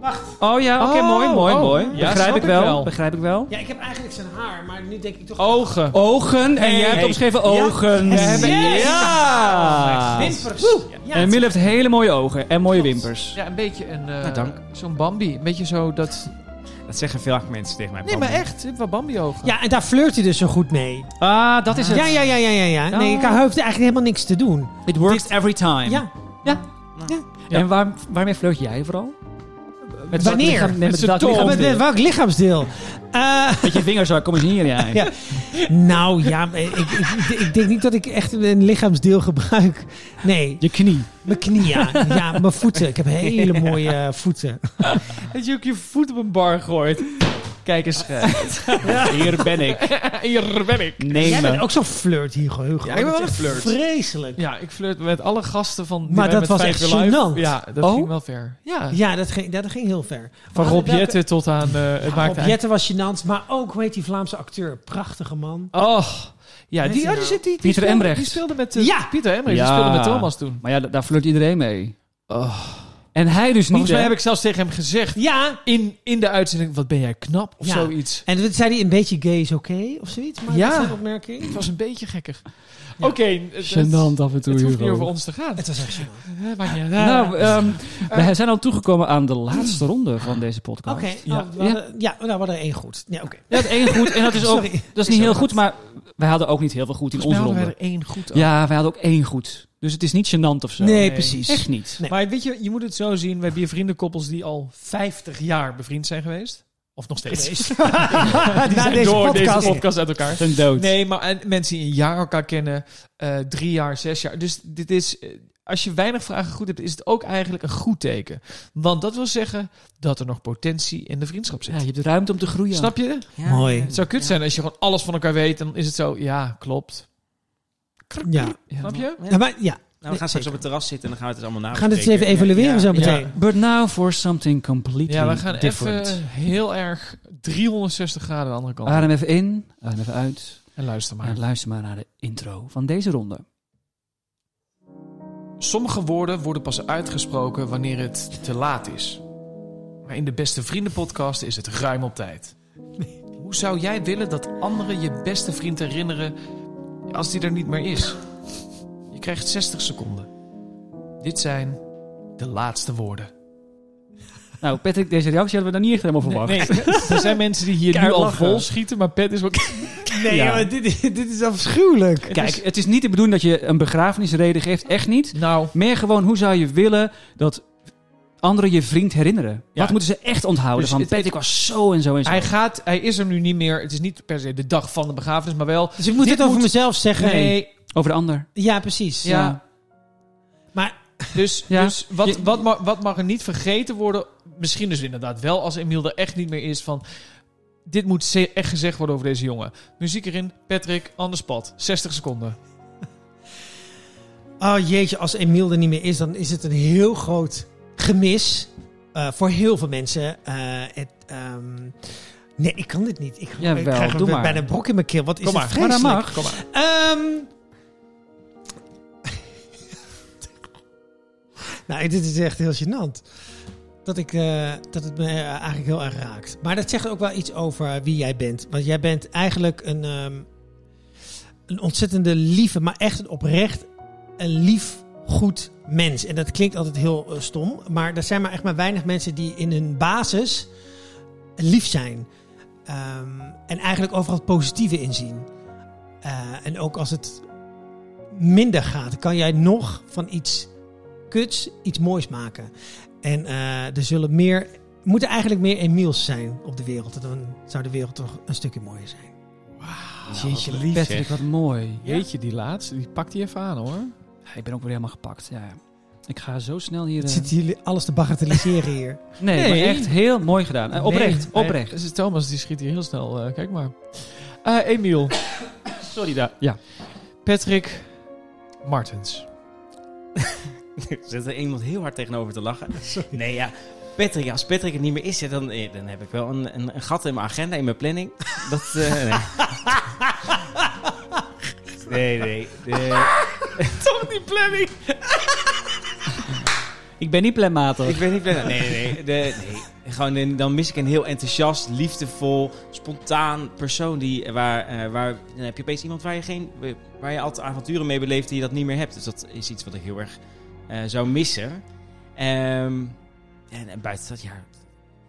[SPEAKER 5] Wacht.
[SPEAKER 2] Oh ja, oké,
[SPEAKER 4] Oh,
[SPEAKER 2] mooi, mooi,
[SPEAKER 4] oh.
[SPEAKER 2] mooi.
[SPEAKER 4] Ja,
[SPEAKER 2] Begrijp
[SPEAKER 4] snap
[SPEAKER 2] ik
[SPEAKER 4] ik
[SPEAKER 2] wel.
[SPEAKER 4] wel.
[SPEAKER 2] Begrijp ik wel.
[SPEAKER 5] Ja, ik heb eigenlijk zijn haar, maar nu denk ik toch...
[SPEAKER 4] Ogen.
[SPEAKER 2] Ogen, en
[SPEAKER 6] Hey.
[SPEAKER 2] jij hebt
[SPEAKER 6] Hey.
[SPEAKER 2] opgeschreven ogen.
[SPEAKER 5] Yes. Yes.
[SPEAKER 2] Ja!
[SPEAKER 5] Wimpers. Ja,
[SPEAKER 2] En Emiel heeft hele mooie ogen en mooie wimpers.
[SPEAKER 4] Ja, een beetje een... eh,
[SPEAKER 6] Nou, dank.
[SPEAKER 4] Zo'n Bambi. Een beetje zo dat...
[SPEAKER 6] Dat zeggen veel mensen tegen mij.
[SPEAKER 4] Nee, maar echt. Je hebt wel Bambi-ogen.
[SPEAKER 5] ja, en daar flirt hij dus zo goed mee.
[SPEAKER 2] Ah, dat is het.
[SPEAKER 5] Ja, ja, ja, ja, ja. ja. Nee, ik hij heeft eigenlijk helemaal niks te doen.
[SPEAKER 2] It works every time.
[SPEAKER 5] Ja.
[SPEAKER 4] Ja.
[SPEAKER 2] En waar, waarmee flirt jij vooral? Met welk
[SPEAKER 5] Wanneer?
[SPEAKER 2] lichaam- nee,
[SPEAKER 4] Met
[SPEAKER 2] met
[SPEAKER 4] z'n
[SPEAKER 2] welk
[SPEAKER 4] tong.
[SPEAKER 5] Met, met
[SPEAKER 2] lichaamsdeel?
[SPEAKER 5] welk lichaamsdeel? Eh,
[SPEAKER 2] Met je vingers, hoor. kom eens hier, jij.
[SPEAKER 5] Ja. nou ja, maar ik, ik, ik- ik denk niet dat ik echt een lichaamsdeel gebruik. Nee,
[SPEAKER 2] Je knie.
[SPEAKER 5] mijn knieën. Ja, Ja, mijn voeten. Ik heb hele mooie eh, voeten.
[SPEAKER 4] Dat je ook je voet op een bar gooit. Kijk eens.
[SPEAKER 2] Hier ben ik.
[SPEAKER 4] Hier ben ik.
[SPEAKER 5] Jij
[SPEAKER 2] Neem
[SPEAKER 5] bent
[SPEAKER 2] me.
[SPEAKER 5] ook zo'n flirt hier, Hugo.
[SPEAKER 4] eh. Ja, ik ben wel
[SPEAKER 5] Dat is
[SPEAKER 4] een
[SPEAKER 5] echt
[SPEAKER 4] flirt.
[SPEAKER 5] Vreselijk.
[SPEAKER 4] Ja, ik flirt met alle gasten van... die
[SPEAKER 5] Maar
[SPEAKER 4] wij
[SPEAKER 5] dat
[SPEAKER 4] met
[SPEAKER 5] was
[SPEAKER 4] Vijf
[SPEAKER 5] echt
[SPEAKER 4] Uur Live-
[SPEAKER 5] gênant.
[SPEAKER 4] Ja, dat
[SPEAKER 2] Oh?
[SPEAKER 4] ging wel ver. Ja.
[SPEAKER 5] Ja, dat ging, ja, dat ging heel ver.
[SPEAKER 4] Van
[SPEAKER 5] Maar
[SPEAKER 4] Rob
[SPEAKER 5] welke-
[SPEAKER 4] Jetten tot aan... eh, het maakt
[SPEAKER 5] Rob Jetten was gênant, maar ook, hoe heet die Vlaamse acteur? Prachtige man.
[SPEAKER 4] Oh. Ja, die,
[SPEAKER 5] hij
[SPEAKER 4] oh, die,
[SPEAKER 5] nou?
[SPEAKER 4] zit- die, die
[SPEAKER 2] Pieter
[SPEAKER 4] speelde-
[SPEAKER 2] Emrecht.
[SPEAKER 4] Die speelde met... eh,
[SPEAKER 5] Ja!
[SPEAKER 4] Pieter Emrecht.
[SPEAKER 2] Ja.
[SPEAKER 4] Die speelde met Thomas toen.
[SPEAKER 2] Maar ja, da- daar flirt iedereen mee. En hij dus niet.
[SPEAKER 4] Volgens mij
[SPEAKER 2] hè?
[SPEAKER 4] heb ik zelfs tegen hem gezegd
[SPEAKER 5] Ja,
[SPEAKER 4] in, in de uitzending: wat ben jij knap of
[SPEAKER 5] Ja.
[SPEAKER 4] zoiets.
[SPEAKER 5] en toen zei hij een beetje gay is oké of zoiets. Maar
[SPEAKER 4] Ja.
[SPEAKER 5] dat is een opmerking.
[SPEAKER 4] Het was een beetje gekker.
[SPEAKER 5] Ja.
[SPEAKER 4] Oké, het, het-
[SPEAKER 2] Gênant af en toe.
[SPEAKER 4] het hoeft niet
[SPEAKER 2] Hugo.
[SPEAKER 4] over ons te gaan.
[SPEAKER 5] Het was echt zo.
[SPEAKER 4] Eh, maakt niet uit.
[SPEAKER 2] Nou, ehm, we zijn al toegekomen aan de laatste ronde van deze podcast.
[SPEAKER 5] Oké,
[SPEAKER 2] Ja.
[SPEAKER 5] oh, we hadden- ja, nou, we hadden één goed. Ja, oké.
[SPEAKER 2] Ja, het één goed. En dat is ook
[SPEAKER 5] Sorry.
[SPEAKER 2] dat is niet heel goed, maar wij hadden ook niet heel veel goed in
[SPEAKER 4] Volgens
[SPEAKER 2] onze
[SPEAKER 4] mij hadden wij
[SPEAKER 2] ronde.
[SPEAKER 4] er één goed over.
[SPEAKER 2] Ja, wij hadden ook één goed. Dus het is niet gênant of zo.
[SPEAKER 5] Nee, precies.
[SPEAKER 2] Echt niet.
[SPEAKER 5] Nee.
[SPEAKER 4] Maar weet je, je moet het zo zien. We hebben hier vriendenkoppels die al 50 jaar bevriend zijn geweest. Of nog steeds. die
[SPEAKER 5] Na
[SPEAKER 4] zijn
[SPEAKER 5] deze
[SPEAKER 4] door
[SPEAKER 5] podcast.
[SPEAKER 4] deze podcast uit elkaar.
[SPEAKER 2] Ten dood.
[SPEAKER 4] Nee, maar en mensen die een jaar elkaar kennen. eh, drie jaar, zes jaar. Dus dit is... eh, Als je weinig vragen goed hebt, is het ook eigenlijk een goed teken. Want dat wil zeggen dat er nog potentie in de vriendschap zit.
[SPEAKER 2] Ja, je hebt de ruimte om te groeien.
[SPEAKER 4] Snap je?
[SPEAKER 5] Mooi.
[SPEAKER 4] Het zou kut zijn als je gewoon alles van elkaar weet. Dan is het zo, ja, klopt.
[SPEAKER 5] Ja.
[SPEAKER 4] Snap je?
[SPEAKER 5] Ja, maar, ja,
[SPEAKER 6] Nou, we gaan straks op het terras zitten en dan gaan we het allemaal na.
[SPEAKER 5] we gaan het eens even evalueren zo meteen.
[SPEAKER 4] Ja.
[SPEAKER 2] But now for something completely
[SPEAKER 4] Ja, we gaan
[SPEAKER 2] different. Ah.
[SPEAKER 4] even heel erg 360 graden de andere kant. op.
[SPEAKER 2] Adem even in, adem even uit.
[SPEAKER 4] En luister maar.
[SPEAKER 2] En luister maar naar de intro van deze ronde.
[SPEAKER 4] Sommige woorden worden pas uitgesproken wanneer het te laat is. Maar in de Beste Vrienden podcast is het ruim op tijd. Hoe zou jij willen dat anderen je beste vriend herinneren als die er niet meer is? Je krijgt 60 seconden. Dit zijn de laatste woorden.
[SPEAKER 2] Nou, Patrick, deze reactie hadden we daar niet echt helemaal verwacht.
[SPEAKER 4] er zijn mensen die hier
[SPEAKER 2] nu al vol
[SPEAKER 4] schieten, maar Pet is wel...
[SPEAKER 5] Nee,
[SPEAKER 2] Ja.
[SPEAKER 5] joh, dit, dit is afschuwelijk.
[SPEAKER 2] Kijk, het is niet de bedoeling dat je een begrafenisreden geeft. Echt niet.
[SPEAKER 4] Nou,
[SPEAKER 2] Meer gewoon, hoe zou je willen dat anderen je vriend herinneren?
[SPEAKER 4] Ja.
[SPEAKER 2] Wat moeten ze echt onthouden?
[SPEAKER 4] Dus
[SPEAKER 2] van
[SPEAKER 4] het-
[SPEAKER 2] Peter, ik was zo en zo en zo.
[SPEAKER 4] hij, gaat, hij is er nu niet meer. Het is niet per se de dag van de begrafenis, maar wel...
[SPEAKER 5] Dus ik moet
[SPEAKER 4] Dit
[SPEAKER 5] dit over
[SPEAKER 4] moet-
[SPEAKER 5] mezelf zeggen.
[SPEAKER 2] Over de ander.
[SPEAKER 5] Ja, precies.
[SPEAKER 4] Ja.
[SPEAKER 5] Maar
[SPEAKER 4] Dus,
[SPEAKER 2] Ja.
[SPEAKER 4] dus wat,
[SPEAKER 2] Je-
[SPEAKER 4] wat, mag, wat mag er niet vergeten worden? Misschien dus inderdaad wel, als Emiel er echt niet meer is van... Dit moet ze- echt gezegd worden over deze jongen. Muziek erin, Patrick, anders pad. 60 seconden.
[SPEAKER 5] Oh jeetje, als Emiel er niet meer is, dan is het een heel groot gemis eh, voor heel veel mensen. Eh, het, ehm, nee, ik kan dit niet. Ik,
[SPEAKER 2] Jawel,
[SPEAKER 5] ik krijg
[SPEAKER 2] doe maar.
[SPEAKER 5] bijna een brok in mijn keel. Wat is
[SPEAKER 4] Kom
[SPEAKER 5] het
[SPEAKER 4] maar,
[SPEAKER 2] Maar dat
[SPEAKER 5] vreselijk.
[SPEAKER 2] mag.
[SPEAKER 4] Kom maar.
[SPEAKER 5] Ehm. nou, dit is echt heel gênant. Dat, ik, eh, dat het me eh, eigenlijk heel erg raakt. Maar dat zegt ook wel iets over wie jij bent. Want jij bent eigenlijk een, ehm, een ontzettende lieve, maar echt een oprecht een lief, goed mens. En dat klinkt altijd heel eh, stom. Maar er zijn maar echt maar weinig mensen die in hun basis lief zijn. Ehm, en eigenlijk overal het positieve inzien. Eh, en ook als het minder gaat, kan jij nog van iets kuts iets moois maken. En eh, er zullen meer, moeten eigenlijk meer Emiels zijn op de wereld. Dan zou de wereld toch een stukje mooier zijn.
[SPEAKER 2] Jeetje,
[SPEAKER 6] Oh,
[SPEAKER 2] lief. Patrick, wat mooi.
[SPEAKER 4] Jeetje, die laatste, die pakt hij even aan hoor.
[SPEAKER 2] Ja, ik ben ook weer helemaal gepakt. Ja. Ik ga zo snel hier... eh,
[SPEAKER 5] Zitten jullie alles te bagatelliseren hier?
[SPEAKER 2] Nee,
[SPEAKER 4] Nee.
[SPEAKER 2] maar echt heel mooi gedaan. Eh, oprecht,
[SPEAKER 4] Nee,
[SPEAKER 2] oprecht.
[SPEAKER 4] dus Thomas, die schiet hier heel snel. eh, kijk maar. Eh, Emiel,
[SPEAKER 2] Sorry daar. Ja.
[SPEAKER 4] Patrick, Martens.
[SPEAKER 6] Er zit er iemand heel hard tegenover te lachen. Nee, ja. Patrick, als Patrick er niet meer is, ja, dan, eh, dan heb ik wel een, een, een gat in mijn agenda, in mijn planning. Dat, eh, nee. nee, nee. Eh, nee.
[SPEAKER 2] Ik ben niet planmatig.
[SPEAKER 6] Ik weet niet. Nee, nee, nee. De- nee. Gewoon, een- dan mis ik een heel enthousiast, liefdevol, spontaan persoon. Die, waar, eh, waar, dan heb je opeens iemand waar je, geen, waar je altijd avonturen mee beleeft die je dat niet meer hebt. Dus dat is iets wat ik heel erg eh, zou missen. Ehm, en, en buiten dat, ja,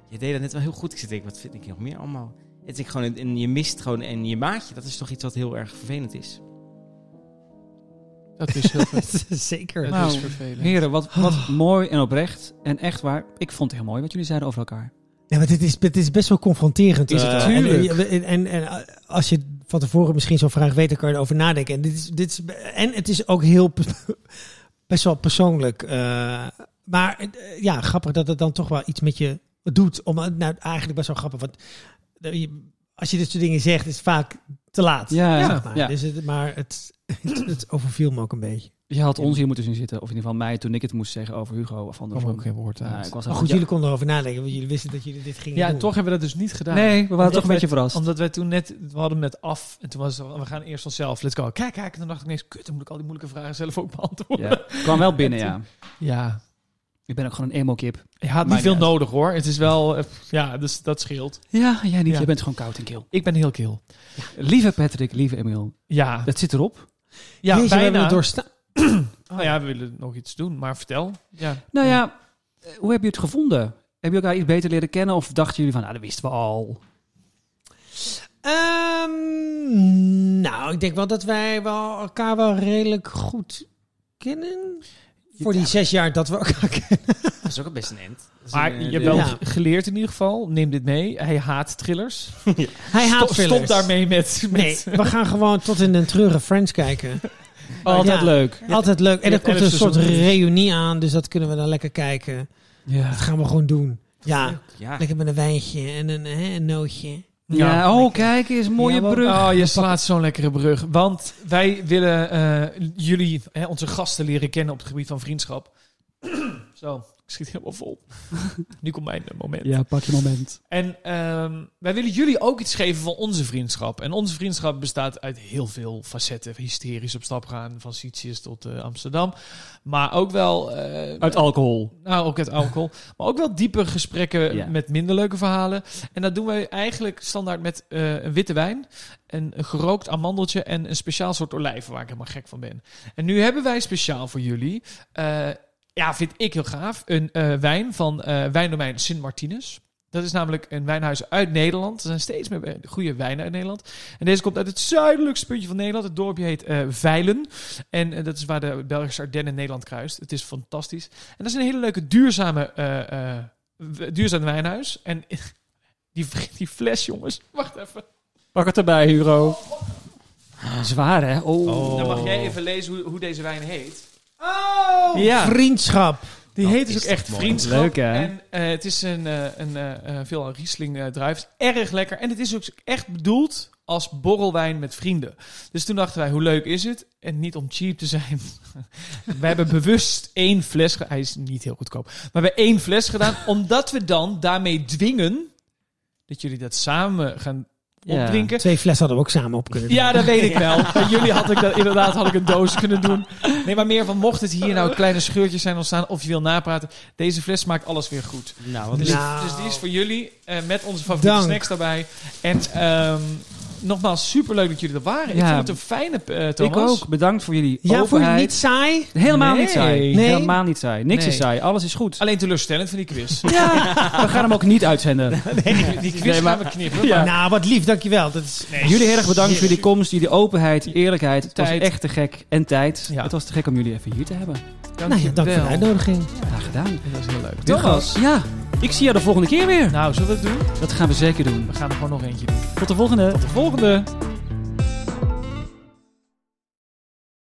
[SPEAKER 6] je deed dat net wel heel goed. Ik zit te denken, wat vind ik hier nog meer allemaal? Het is gewoon, een- en je mist gewoon en je maatje. Dat is toch iets wat heel erg vervelend is.
[SPEAKER 4] Dat is heel vervelend.
[SPEAKER 5] Zeker.
[SPEAKER 4] Dat is
[SPEAKER 2] Nou,
[SPEAKER 4] vervelend.
[SPEAKER 2] Heren, wat, wat mooi en oprecht. En echt waar, ik vond het heel mooi wat jullie zeiden over elkaar.
[SPEAKER 5] Ja, maar dit is, dit is best wel confronterend.
[SPEAKER 6] Is het
[SPEAKER 5] Eh,
[SPEAKER 6] wel.
[SPEAKER 5] en-
[SPEAKER 4] Tuurlijk.
[SPEAKER 5] En, en, en, eh, als je van tevoren misschien zo'n vraag weet, dan kan je erover nadenken. En, dit is, dit is, en het is ook heel pe- best wel persoonlijk. eh, maar eh, ja, grappig dat het dan toch wel iets met je doet. Om, eh, nou, eigenlijk best wel grappig. Want eh, je- als je dit soort dingen zegt, is het vaak te laat.
[SPEAKER 2] Ja,
[SPEAKER 5] zeg maar.
[SPEAKER 2] ja.
[SPEAKER 5] Dus het, maar het, het, het overviel me ook een beetje.
[SPEAKER 2] Je had ons hier moeten zien zitten. Of in ieder geval mij toen ik het moest zeggen over Hugo. Of
[SPEAKER 4] Er
[SPEAKER 2] andersom.
[SPEAKER 4] kwam ook geen woord
[SPEAKER 2] Ja,
[SPEAKER 4] uit.
[SPEAKER 2] ik was
[SPEAKER 5] Maar
[SPEAKER 2] echt-
[SPEAKER 5] goed,
[SPEAKER 2] ja.
[SPEAKER 5] jullie konden erover nadenken. Want jullie wisten dat jullie dit gingen
[SPEAKER 4] Ja,
[SPEAKER 5] doen.
[SPEAKER 4] en toch hebben we dat dus niet gedaan.
[SPEAKER 2] Nee, we waren toch een
[SPEAKER 4] wij-
[SPEAKER 2] beetje verrast.
[SPEAKER 4] Omdat wij toen net, we hadden hem net af. En toen was het, we gaan eerst onszelf, let's go. Kijk, kijk. En toen dacht ik ineens, kut, dan moet ik al die moeilijke vragen zelf ook beantwoorden.
[SPEAKER 2] Ja, kwam wel binnen, ja.
[SPEAKER 4] Ja,
[SPEAKER 2] Ik ben ook gewoon een emo-kip.
[SPEAKER 4] Je had niet
[SPEAKER 6] Maakt
[SPEAKER 4] veel
[SPEAKER 6] niet uit.
[SPEAKER 4] nodig hoor. Het is wel, eh, pff, ja, dus dat scheelt.
[SPEAKER 2] Ja, jij niet.
[SPEAKER 4] Ja.
[SPEAKER 2] Jij bent gewoon koud en kil.
[SPEAKER 4] Ik ben heel kil.
[SPEAKER 2] Lieve Patrick, lieve Emiel.
[SPEAKER 4] Ja,
[SPEAKER 2] Het zit erop.
[SPEAKER 4] ja
[SPEAKER 5] Jeetje, we hebben
[SPEAKER 4] bijna.
[SPEAKER 5] het doorstaan.
[SPEAKER 4] Nou ja, we willen nog iets doen, maar vertel. Ja.
[SPEAKER 2] Nou ja, eh, hoe heb je het gevonden? Heb je elkaar iets beter leren kennen? Of dachten jullie van, nou, dat wisten we al.
[SPEAKER 5] Ehm, nou, ik denk wel dat wij wel elkaar wel redelijk goed kennen. Voor die zes jaar dat we elkaar kennen.
[SPEAKER 6] Dat is ook best een end. Dat is
[SPEAKER 4] Maar
[SPEAKER 6] een,
[SPEAKER 4] je
[SPEAKER 6] eh,
[SPEAKER 4] hebt
[SPEAKER 6] de-
[SPEAKER 4] wel
[SPEAKER 5] Ja.
[SPEAKER 4] geleerd in ieder geval. Neem dit mee. Hij haat thrillers.
[SPEAKER 5] Hij haat
[SPEAKER 4] Stop,
[SPEAKER 5] fillers.
[SPEAKER 4] stop daarmee met...
[SPEAKER 5] Nee,
[SPEAKER 4] met
[SPEAKER 5] we gaan gewoon tot in den treuren Friends kijken.
[SPEAKER 2] Altijd
[SPEAKER 5] Ja.
[SPEAKER 2] leuk.
[SPEAKER 5] Altijd leuk. En
[SPEAKER 4] Ja,
[SPEAKER 5] er komt
[SPEAKER 4] elf
[SPEAKER 5] een soort
[SPEAKER 4] seizoenen.
[SPEAKER 5] reunie aan, dus dat kunnen we dan lekker kijken.
[SPEAKER 2] Ja.
[SPEAKER 5] Dat gaan we gewoon doen. Ja,
[SPEAKER 6] Ja,
[SPEAKER 5] lekker met een wijntje en een, hè, een nootje.
[SPEAKER 2] Ja,
[SPEAKER 4] Ja.
[SPEAKER 2] oh, kijk eens, mooie
[SPEAKER 5] Ja, wel-
[SPEAKER 2] brug.
[SPEAKER 4] Oh, je slaat zo'n lekkere brug. Want wij willen eh, jullie, hè, onze gasten, leren kennen op het gebied van vriendschap. Zo, ik schiet helemaal vol. nu komt mijn eh, moment.
[SPEAKER 2] Ja, pak je moment.
[SPEAKER 4] En ehm, wij willen jullie ook iets geven van onze vriendschap. En onze vriendschap bestaat uit heel veel facetten. Hysterisch op stap gaan, van Sitius tot eh, Amsterdam. Maar ook wel... eh,
[SPEAKER 2] Uit alcohol.
[SPEAKER 4] nou, ook het alcohol. maar ook wel diepe gesprekken
[SPEAKER 6] Ja.
[SPEAKER 4] met minder leuke verhalen. En dat doen wij eigenlijk standaard met eh, een witte wijn, en een gerookt amandeltje en een speciaal soort olijven waar ik helemaal gek van ben. En nu hebben wij speciaal voor jullie, eh, ja, vind ik heel gaaf, een eh, wijn van eh wijndomein Sint Martinus. Dat is namelijk een wijnhuis uit Nederland. Er zijn steeds meer eh, goede wijnen uit Nederland. En deze komt uit het zuidelijkste puntje van Nederland. Het dorpje heet eh Veilen. En eh, dat is waar de Belgische Ardennen Nederland kruist. Het is fantastisch. En dat is een hele leuke duurzame, eh, eh, w- duurzaam wijnhuis. En die, die fles, jongens. Wacht even.
[SPEAKER 2] Pak het erbij, Hugo. Zwaar, hè? Oh.
[SPEAKER 4] Dan mag jij even lezen hoe, hoe deze wijn heet.
[SPEAKER 5] Oh,
[SPEAKER 4] Oh,
[SPEAKER 2] Ja.
[SPEAKER 5] Vriendschap.
[SPEAKER 4] Die
[SPEAKER 6] Dat
[SPEAKER 4] heet dus
[SPEAKER 6] is
[SPEAKER 4] ook echt
[SPEAKER 6] mooi.
[SPEAKER 4] vriendschap.
[SPEAKER 2] Leuk, hè?
[SPEAKER 4] En eh, het is een, eh, een eh, eh, veel Riesling eh druif. Het is Erg lekker. En het is ook echt bedoeld als borrelwijn met vrienden. Dus toen dachten wij, hoe leuk is het? En niet om cheap te zijn. we hebben bewust één fles... ge- Hij is niet heel goedkoop. Maar we hebben één fles gedaan. omdat we dan daarmee dwingen... dat jullie dat samen gaan
[SPEAKER 2] Ja.
[SPEAKER 4] opdrinken.
[SPEAKER 5] Twee flessen hadden we ook samen op kunnen doen.
[SPEAKER 4] Ja, dat weet ik wel. Bij jullie had ik dat inderdaad had ik een doos kunnen doen. Nee, maar meer van mocht het hier nou kleine scheurtjes zijn ontstaan of je wil napraten, deze fles maakt alles weer goed.
[SPEAKER 6] nou, wat
[SPEAKER 4] Dus,
[SPEAKER 5] Nou.
[SPEAKER 4] dus die is voor jullie eh, met onze favoriete
[SPEAKER 5] Dank.
[SPEAKER 4] snacks daarbij. En ehm, nogmaals, superleuk dat jullie er waren. Ik
[SPEAKER 2] Ja.
[SPEAKER 4] vond het een fijne eh
[SPEAKER 2] Ik
[SPEAKER 4] Thomas.
[SPEAKER 2] ook. Bedankt voor jullie
[SPEAKER 5] Ja, vond je het
[SPEAKER 2] openheid.
[SPEAKER 5] niet saai?
[SPEAKER 2] Helemaal
[SPEAKER 4] Nee.
[SPEAKER 2] niet saai.
[SPEAKER 5] Nee.
[SPEAKER 2] Helemaal niet saai. Niks
[SPEAKER 4] Nee.
[SPEAKER 2] is saai. Alles is goed.
[SPEAKER 4] Alleen teleurstellend van die quiz.
[SPEAKER 2] Ja. We gaan hem ook niet uitzenden.
[SPEAKER 4] Die quiz
[SPEAKER 2] Nee, maar-
[SPEAKER 4] gaan we knippen.
[SPEAKER 2] Ja.
[SPEAKER 4] Maar
[SPEAKER 5] Nou, wat lief, dankjewel. Dat is...
[SPEAKER 2] Jullie heel erg bedankt voor jullie komst, jullie openheid, eerlijkheid. Het was
[SPEAKER 4] Tijd.
[SPEAKER 2] echt te gek. En tijd.
[SPEAKER 4] Ja.
[SPEAKER 2] Het was te gek om jullie even hier te hebben.
[SPEAKER 5] Nou ja, dank voor de
[SPEAKER 4] dankjewel.
[SPEAKER 5] uitnodiging.
[SPEAKER 2] Graag gedaan.
[SPEAKER 4] Dat is heel leuk.
[SPEAKER 2] Thomas. Ja. Ik zie jou de volgende keer weer.
[SPEAKER 4] Nou, zullen we het doen?
[SPEAKER 2] Dat gaan we zeker doen.
[SPEAKER 4] We gaan er gewoon nog eentje doen.
[SPEAKER 2] Tot de volgende.
[SPEAKER 4] Tot de volgende.